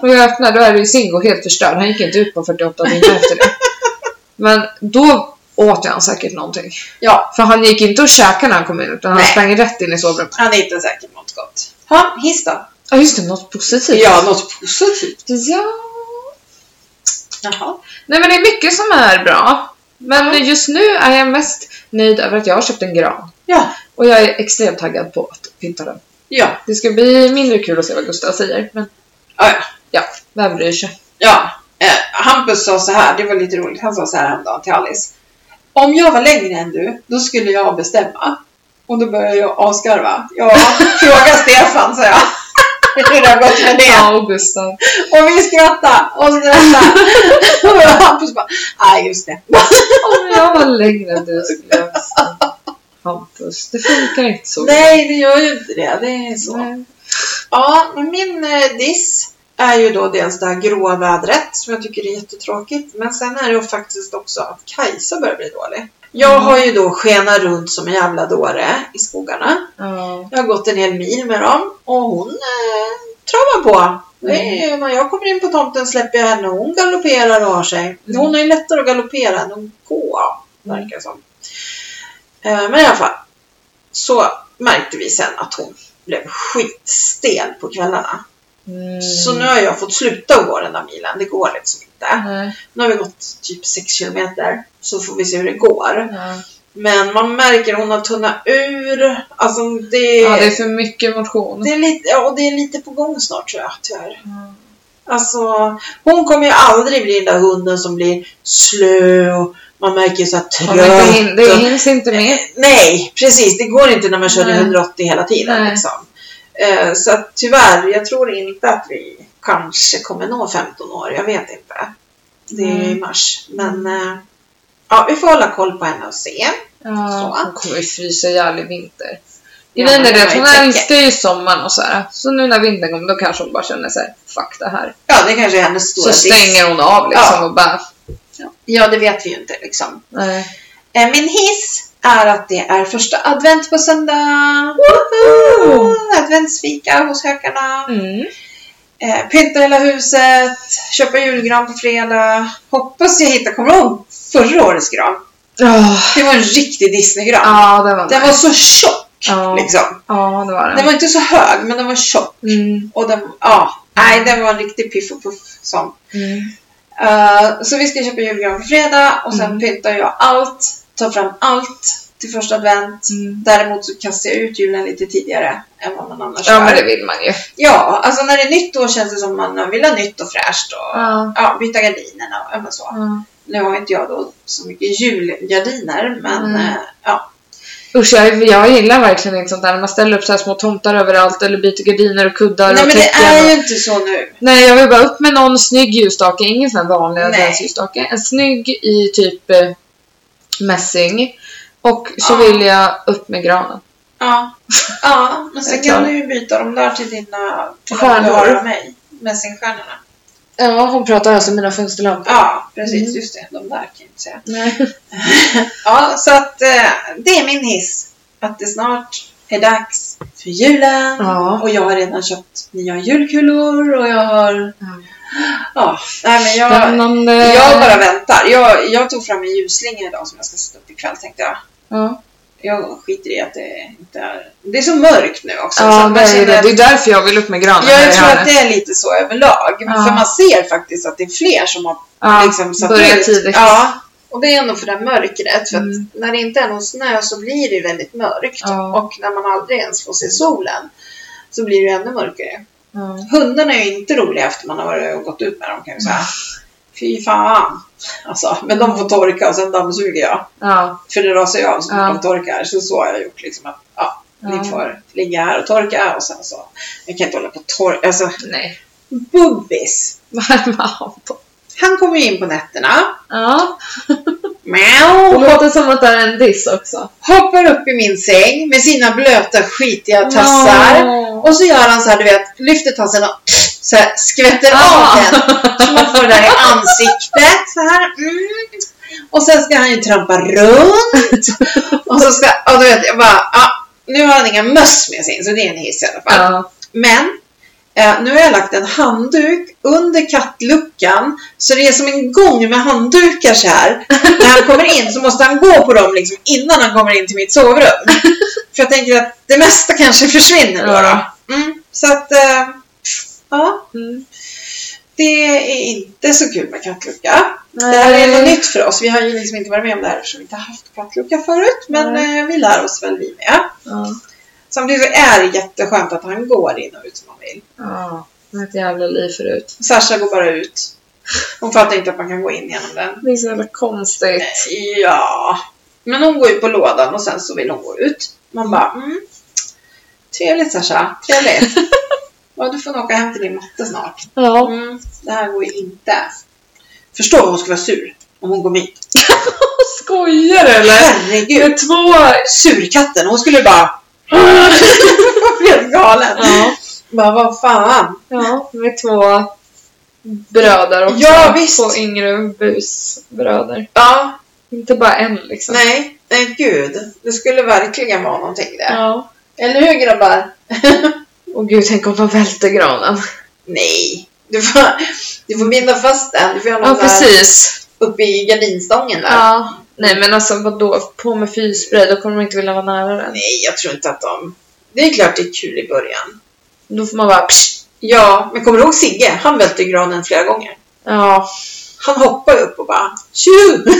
Och jag öppnar, då är det ju Singo helt förstörd. Han gick inte ut på 48 timmar efter det. Men då åt han säkert någonting. Ja, För han gick inte och käkade när han kom in utan han Nej. sprang rätt in i sovrummet. han är inte säkert något gott. Ha, hiss då? Ja just det, något positivt. Ja, något positivt. ja. Jaha. Nej men det är mycket som är bra. Men just nu är jag mest nöjd över att jag har köpt en gran. Ja, Och jag är extremt taggad på att pynta den. ja, Det ska bli mindre kul att se vad Gustav säger. Men ja. ja. ja, vem bryr sig? Ja, eh, Hampus sa så här, det var lite roligt, han sa så här häromdagen till Alice. Om jag var längre än du, då skulle jag bestämma. Och då började jag asgarva. Ja, fråga Stefan, sa jag. Hur det har gått med det. Ja, och Gustav. Och vi skrattade och skrattade. Och Hampus bara, nej just det. Om jag var längre än du skulle jag säga. Hampus, det funkar inte så. Nej, det gör ju inte det. Det är så. Nej. Ja, men min eh, diss är ju då dels det här gråa vädret som jag tycker är jättetråkigt. Men sen är det ju faktiskt också att Kajsa börjar bli dålig. Jag Mm. har ju då skenat runt som en jävla dåre i skogarna. Ja. Jag har gått en hel mil med dem och hon eh, travar på. Det är, Mm. ju- När jag kommer in på tomten släpper jag henne och hon galopperar och har sig. Mm. Hon är ju lättare att galoppera än att gå, verkar det som. Eh, Men i alla fall. Så märkte vi sen att hon blev skitstel på kvällarna. Mm. Så nu har jag fått sluta att gå den där milen. Det går liksom inte. Nej. Nu har vi gått typ 6 kilometer. Så får vi se hur det går. Ja. Men man märker hon har tunnat ur. Alltså det... ja, det är för mycket motion. Det är lite, ja, och det är lite på gång snart tror jag, tyvärr. Ja. Alltså, hon kommer ju aldrig bli den där hunden som blir slö och man märker så här Ja, men det, trött. hin- det hinns inte och, med. nej, precis. Det går inte när man körde Nej. 180 hela tiden. Nej. Liksom. Eh, så att, tyvärr, jag tror inte att vi kanske kommer nå 15 år. Jag vet inte. Det är ju i Mm. mars. Men eh, ja, vi får hålla koll på henne och se. Ja, Så. hon kommer ju frysa ihjäl i vinter. Ja, Grejen men är det det var att ju hon täcke. älskar ju sommaren och så här. Så nu när vintern kommer då kanske hon bara känner sig fuck det här. Ja, det kanske är hennes stora Så stänger hon av liksom Ja. och bara Ja, det vet vi ju inte liksom. nej. Eh, Min hiss är att det är första advent på söndag. Woho! Adventsfika hos hökarna. Mm. Eh, Pynta hela huset. Köpa julgran på fredag. Hoppas jag hittar, kommer du ihåg förra årets gran? Oh. Det var en riktig Disneygran. Ja, det var Den var nice. så tjock Ja. liksom. Ja, det var den. Den var inte så hög, men den var tjock. Mm. Och den, ja, nej, den var en riktig piff och puff sån. Mm. Eh, så vi ska köpa julgran på fredag och sen Mm. pyntar jag allt. Tar fram allt till första advent. Mm. Däremot så kastar jag ut julen lite tidigare än vad man annars Ja, gör. men det vill man ju. Ja, alltså när det är nytt år känns det som man vill ha nytt och fräscht och Ja. ja, byta gardinerna och ja, men så. Ja. Nu har inte jag då så mycket julgardiner, men Mm. eh, ja. Usch, jag, jag gillar verkligen inte sånt där när man ställer upp så här små tomtar överallt eller byter gardiner och kuddar Nej, och men det täcken. är och... ju inte så nu. Nej, jag vill bara upp med någon snygg ljusstake. Ingen sån här vanlig Nej. adventsljusstake. En snygg i typ eh, mässing. Och så Ja. vill jag upp med granen. Ja, ja men sen Jag är kan klar. du ju byta dem där till dina till de Stjärnor. du har av mig. Mässingstjärnorna. Ja, hon pratar alltså mina fönsterlampor. Ja, precis. Mm. Just det. De där kan jag inte säga. Nej. Ja, så att eh, det är min hiss. Att det snart är dags för julen. Ja. Och jag har redan köpt nya julkulor och jag har... Ja. Ja, nej men Men jag... någon, eh, Jag bara väntar. Jag, jag tog fram en ljusslinga idag som jag ska sätta upp ikväll tänkte jag. Ja, Jag skiter i att det inte är... Det är så mörkt nu också. så ja att det man är ju känner det. att- Det är därför jag vill upp med granen. Ja, här i jag tror hörnet. att det är lite så överlag. Ja. För man ser faktiskt att det är fler som har ja, liksom satt börjar ut. tidigt. Ja, och det är nog för det här mörkret. För att Mm. när det inte är någon snö så blir det ju väldigt mörkt. Ja. Och när man aldrig ens får se solen så blir det ju ännu mörkare. Ja. Hundarna är ju inte roliga efter man har varit och gått ut med dem kan Mm. vi säga. Fy fan! Alltså, men de får torka och sen dammsuger jag. Ja. För det rasar ju av så fort Ja. de torkar. Så så har jag gjort liksom. Att, ja, Ja. Ni får ligga här och torka och sen så. Jag kan inte hålla på och torka. Alltså, Nej. Bubbis! Varma Anton. Han kommer ju in på nätterna. Ja. Miau! Det låter som att det är en diss också. hoppar upp i min säng med sina blöta skitiga tassar. Ja. Och så gör han så här, du vet, lyfter tassen och så här, skvätter Ja. av den. Så man får det där i ansiktet så här. Mm. Och sen ska han ju trampa runt. Och så ska, och du vet, jag bara, ja, nu har han inga möss med sig in, så det är en hiss i alla fall. Ja. Men eh, nu har jag lagt en handduk under kattluckan. Så det är som en gång med handdukar så här. När han kommer in så måste han gå på dem liksom innan han kommer in till mitt sovrum. För jag tänker att det mesta kanske försvinner då. Ja. då. Mm, så att, eh, ja. Mm. Det är inte så kul med kattlucka. Det här är något nytt för oss. Vi har ju liksom inte varit med om det här eftersom vi inte har haft kattlucka förut. Men eh, vi lär oss väl vi med. Ja. Samtidigt så är det jätteskönt att han går in och ut som han vill. Ja, det var ett jävla liv förut. Sasha går bara ut. Hon fattar inte att man kan gå in genom den. Det är så jävla konstigt. Ja, Men hon går ju på lådan och sen så vill hon gå ut. Man bara, mm. Trevligt Sasha, trevligt. ja, du får nog åka hem till din matte snart. Ja. Mm. Det här går ju inte. Förstår hon skulle vara sur om hon går mit. Skojar du eller? Det Herregud! är två... Surkatten, hon skulle bara... bli helt galen. Ja. Bara, vad fan. Ja, med två bröder också. Ja, visst. Två yngre busbröder. Ja, Inte bara en liksom. nej. Nej, gud. Det skulle verkligen vara någonting där. Ja. Eller hur grabbar? Och gud, tänk om man välter granen. Nej. Du får, du får binda fast den. Du får göra Ja, något där precis. uppe i gardinstången där. Ja. Nej, men alltså vadå? På med fyrspray, då kommer de inte vilja vara nära den. Nej, jag tror inte att de... Det är klart det är kul i början. Då får man bara psh. Ja, men kommer du ihåg Sigge? Han välte ju granen flera gånger. Ja. Han hoppar ju upp och bara tju!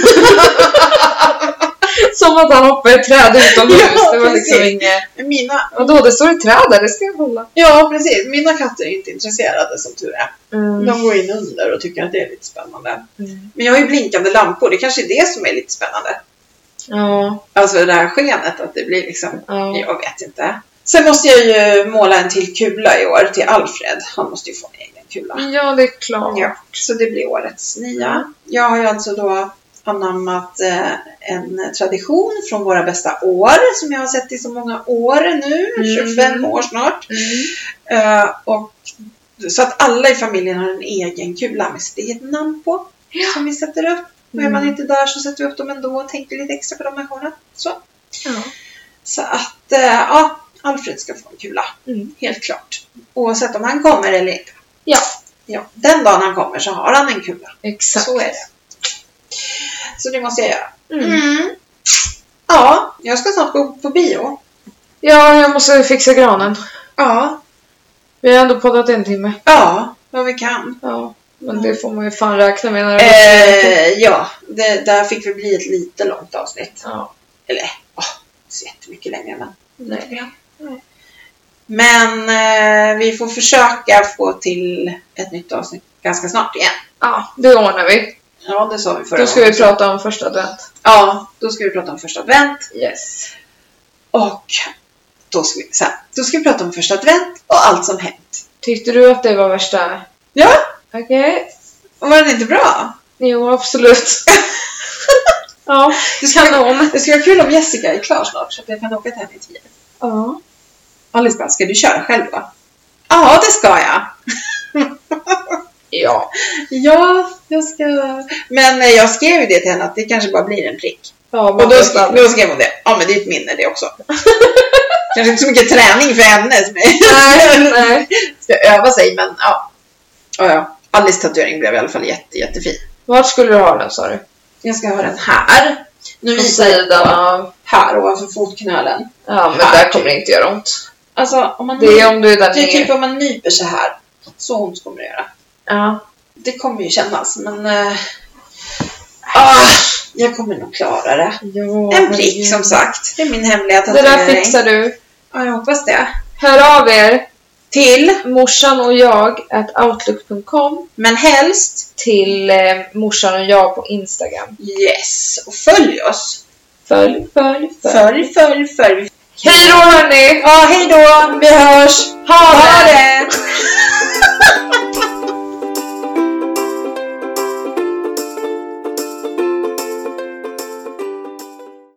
Som att han hoppar i ett träd utomhus. Ja, det var liksom precis. inget... Mina, Vadå, det står i träd där, det ska jag hålla. ja, precis. Mina katter är inte intresserade som tur är. Mm. De går in under och tycker att det är lite spännande. Mm. Men jag har ju blinkande lampor. Det kanske är det som är lite spännande. Ja, Alltså det här skenet, att det blir liksom... ja. Jag vet inte. Sen måste jag ju måla en till kula i år till Alfred. Han måste ju få en egen kula. Ja, det är klart. Ja, så det blir årets nya. Jag har ju alltså då anammat eh, en tradition från våra bästa år som jag har sett i så många år nu, Mm. 25 år snart. Mm. Eh, och, så att alla i familjen har en egen kula med sitt eget namn på som vi sätter upp. Och är man Mm. inte där så sätter vi upp dem ändå och tänker lite extra på de människorna. Så, Ja. så att, eh, ja, Alfred ska få en kula. Mm. Helt klart. Oavsett om han kommer eller inte. Ja. Ja, den dagen han kommer så har han en kula. Exakt. Så är det. Så det måste jag göra. Mm. Ja, jag ska snart gå på bio. Ja, jag måste fixa granen. Ja, Vi har ändå poddat en timme. ja, vad vi kan. Ja, men det får man ju fan räkna med när det Eh, ja, det, där fick vi bli ett lite långt avsnitt. Ja, Eller, ja, inte så jättemycket längre men. nej. Men eh, vi får försöka få till ett nytt avsnitt ganska snart igen. Ja, det ordnar vi. Ja, det sa vi förra Då ska vi gången. prata om första advent. Ja, då ska vi prata om första advent. Yes. Och då ska vi, så här, då ska vi prata om första advent och allt som hänt. Tyckte du att det var värsta? Ja, Okej. var det inte bra? Jo, absolut. ja, Du ska, kanon. Det skulle vara kul om Jessica är klar snart så att jag kan åka till henne i tid. Ja. Alice bara, ska du köra själv då? Ja, det ska jag. Ja. Ja, jag ska. Men eh, jag skrev ju det till henne att det kanske bara blir en prick. Ja, Och då, sk- då skrev hon det. Ja, men det är ett minne det också. kanske inte så mycket träning för henne som Nej, nej. ska öva sig, men ja. Ja, ja. Alice tatuering blev i alla fall jätte, jättefin. Vart skulle du ha den sa du? Jag ska ha den här. Nu På visar jag sidan på av... här ovanför fotknölen. Ja, men där kommer det inte göra ont. Alltså, om man Det är om du är där Det är typ nere. om man nyper så här. Så ont kommer det göra. Ja. Det kommer ju kännas, men... eh, ah, jag kommer nog klara det. Jo, En herregud. prick som sagt. Det är min hemliga Det där tatuering. fixar du. Ja, jag hoppas det. Hör av er Till, morsan och jag at outlook.com men helst, till eh, morsan och jag på Instagram. yes. Och följ oss. Följ, följ, följ. Följ, följ, följ. Hej då hörni! Ja, hej då. Vi hörs. Ha det!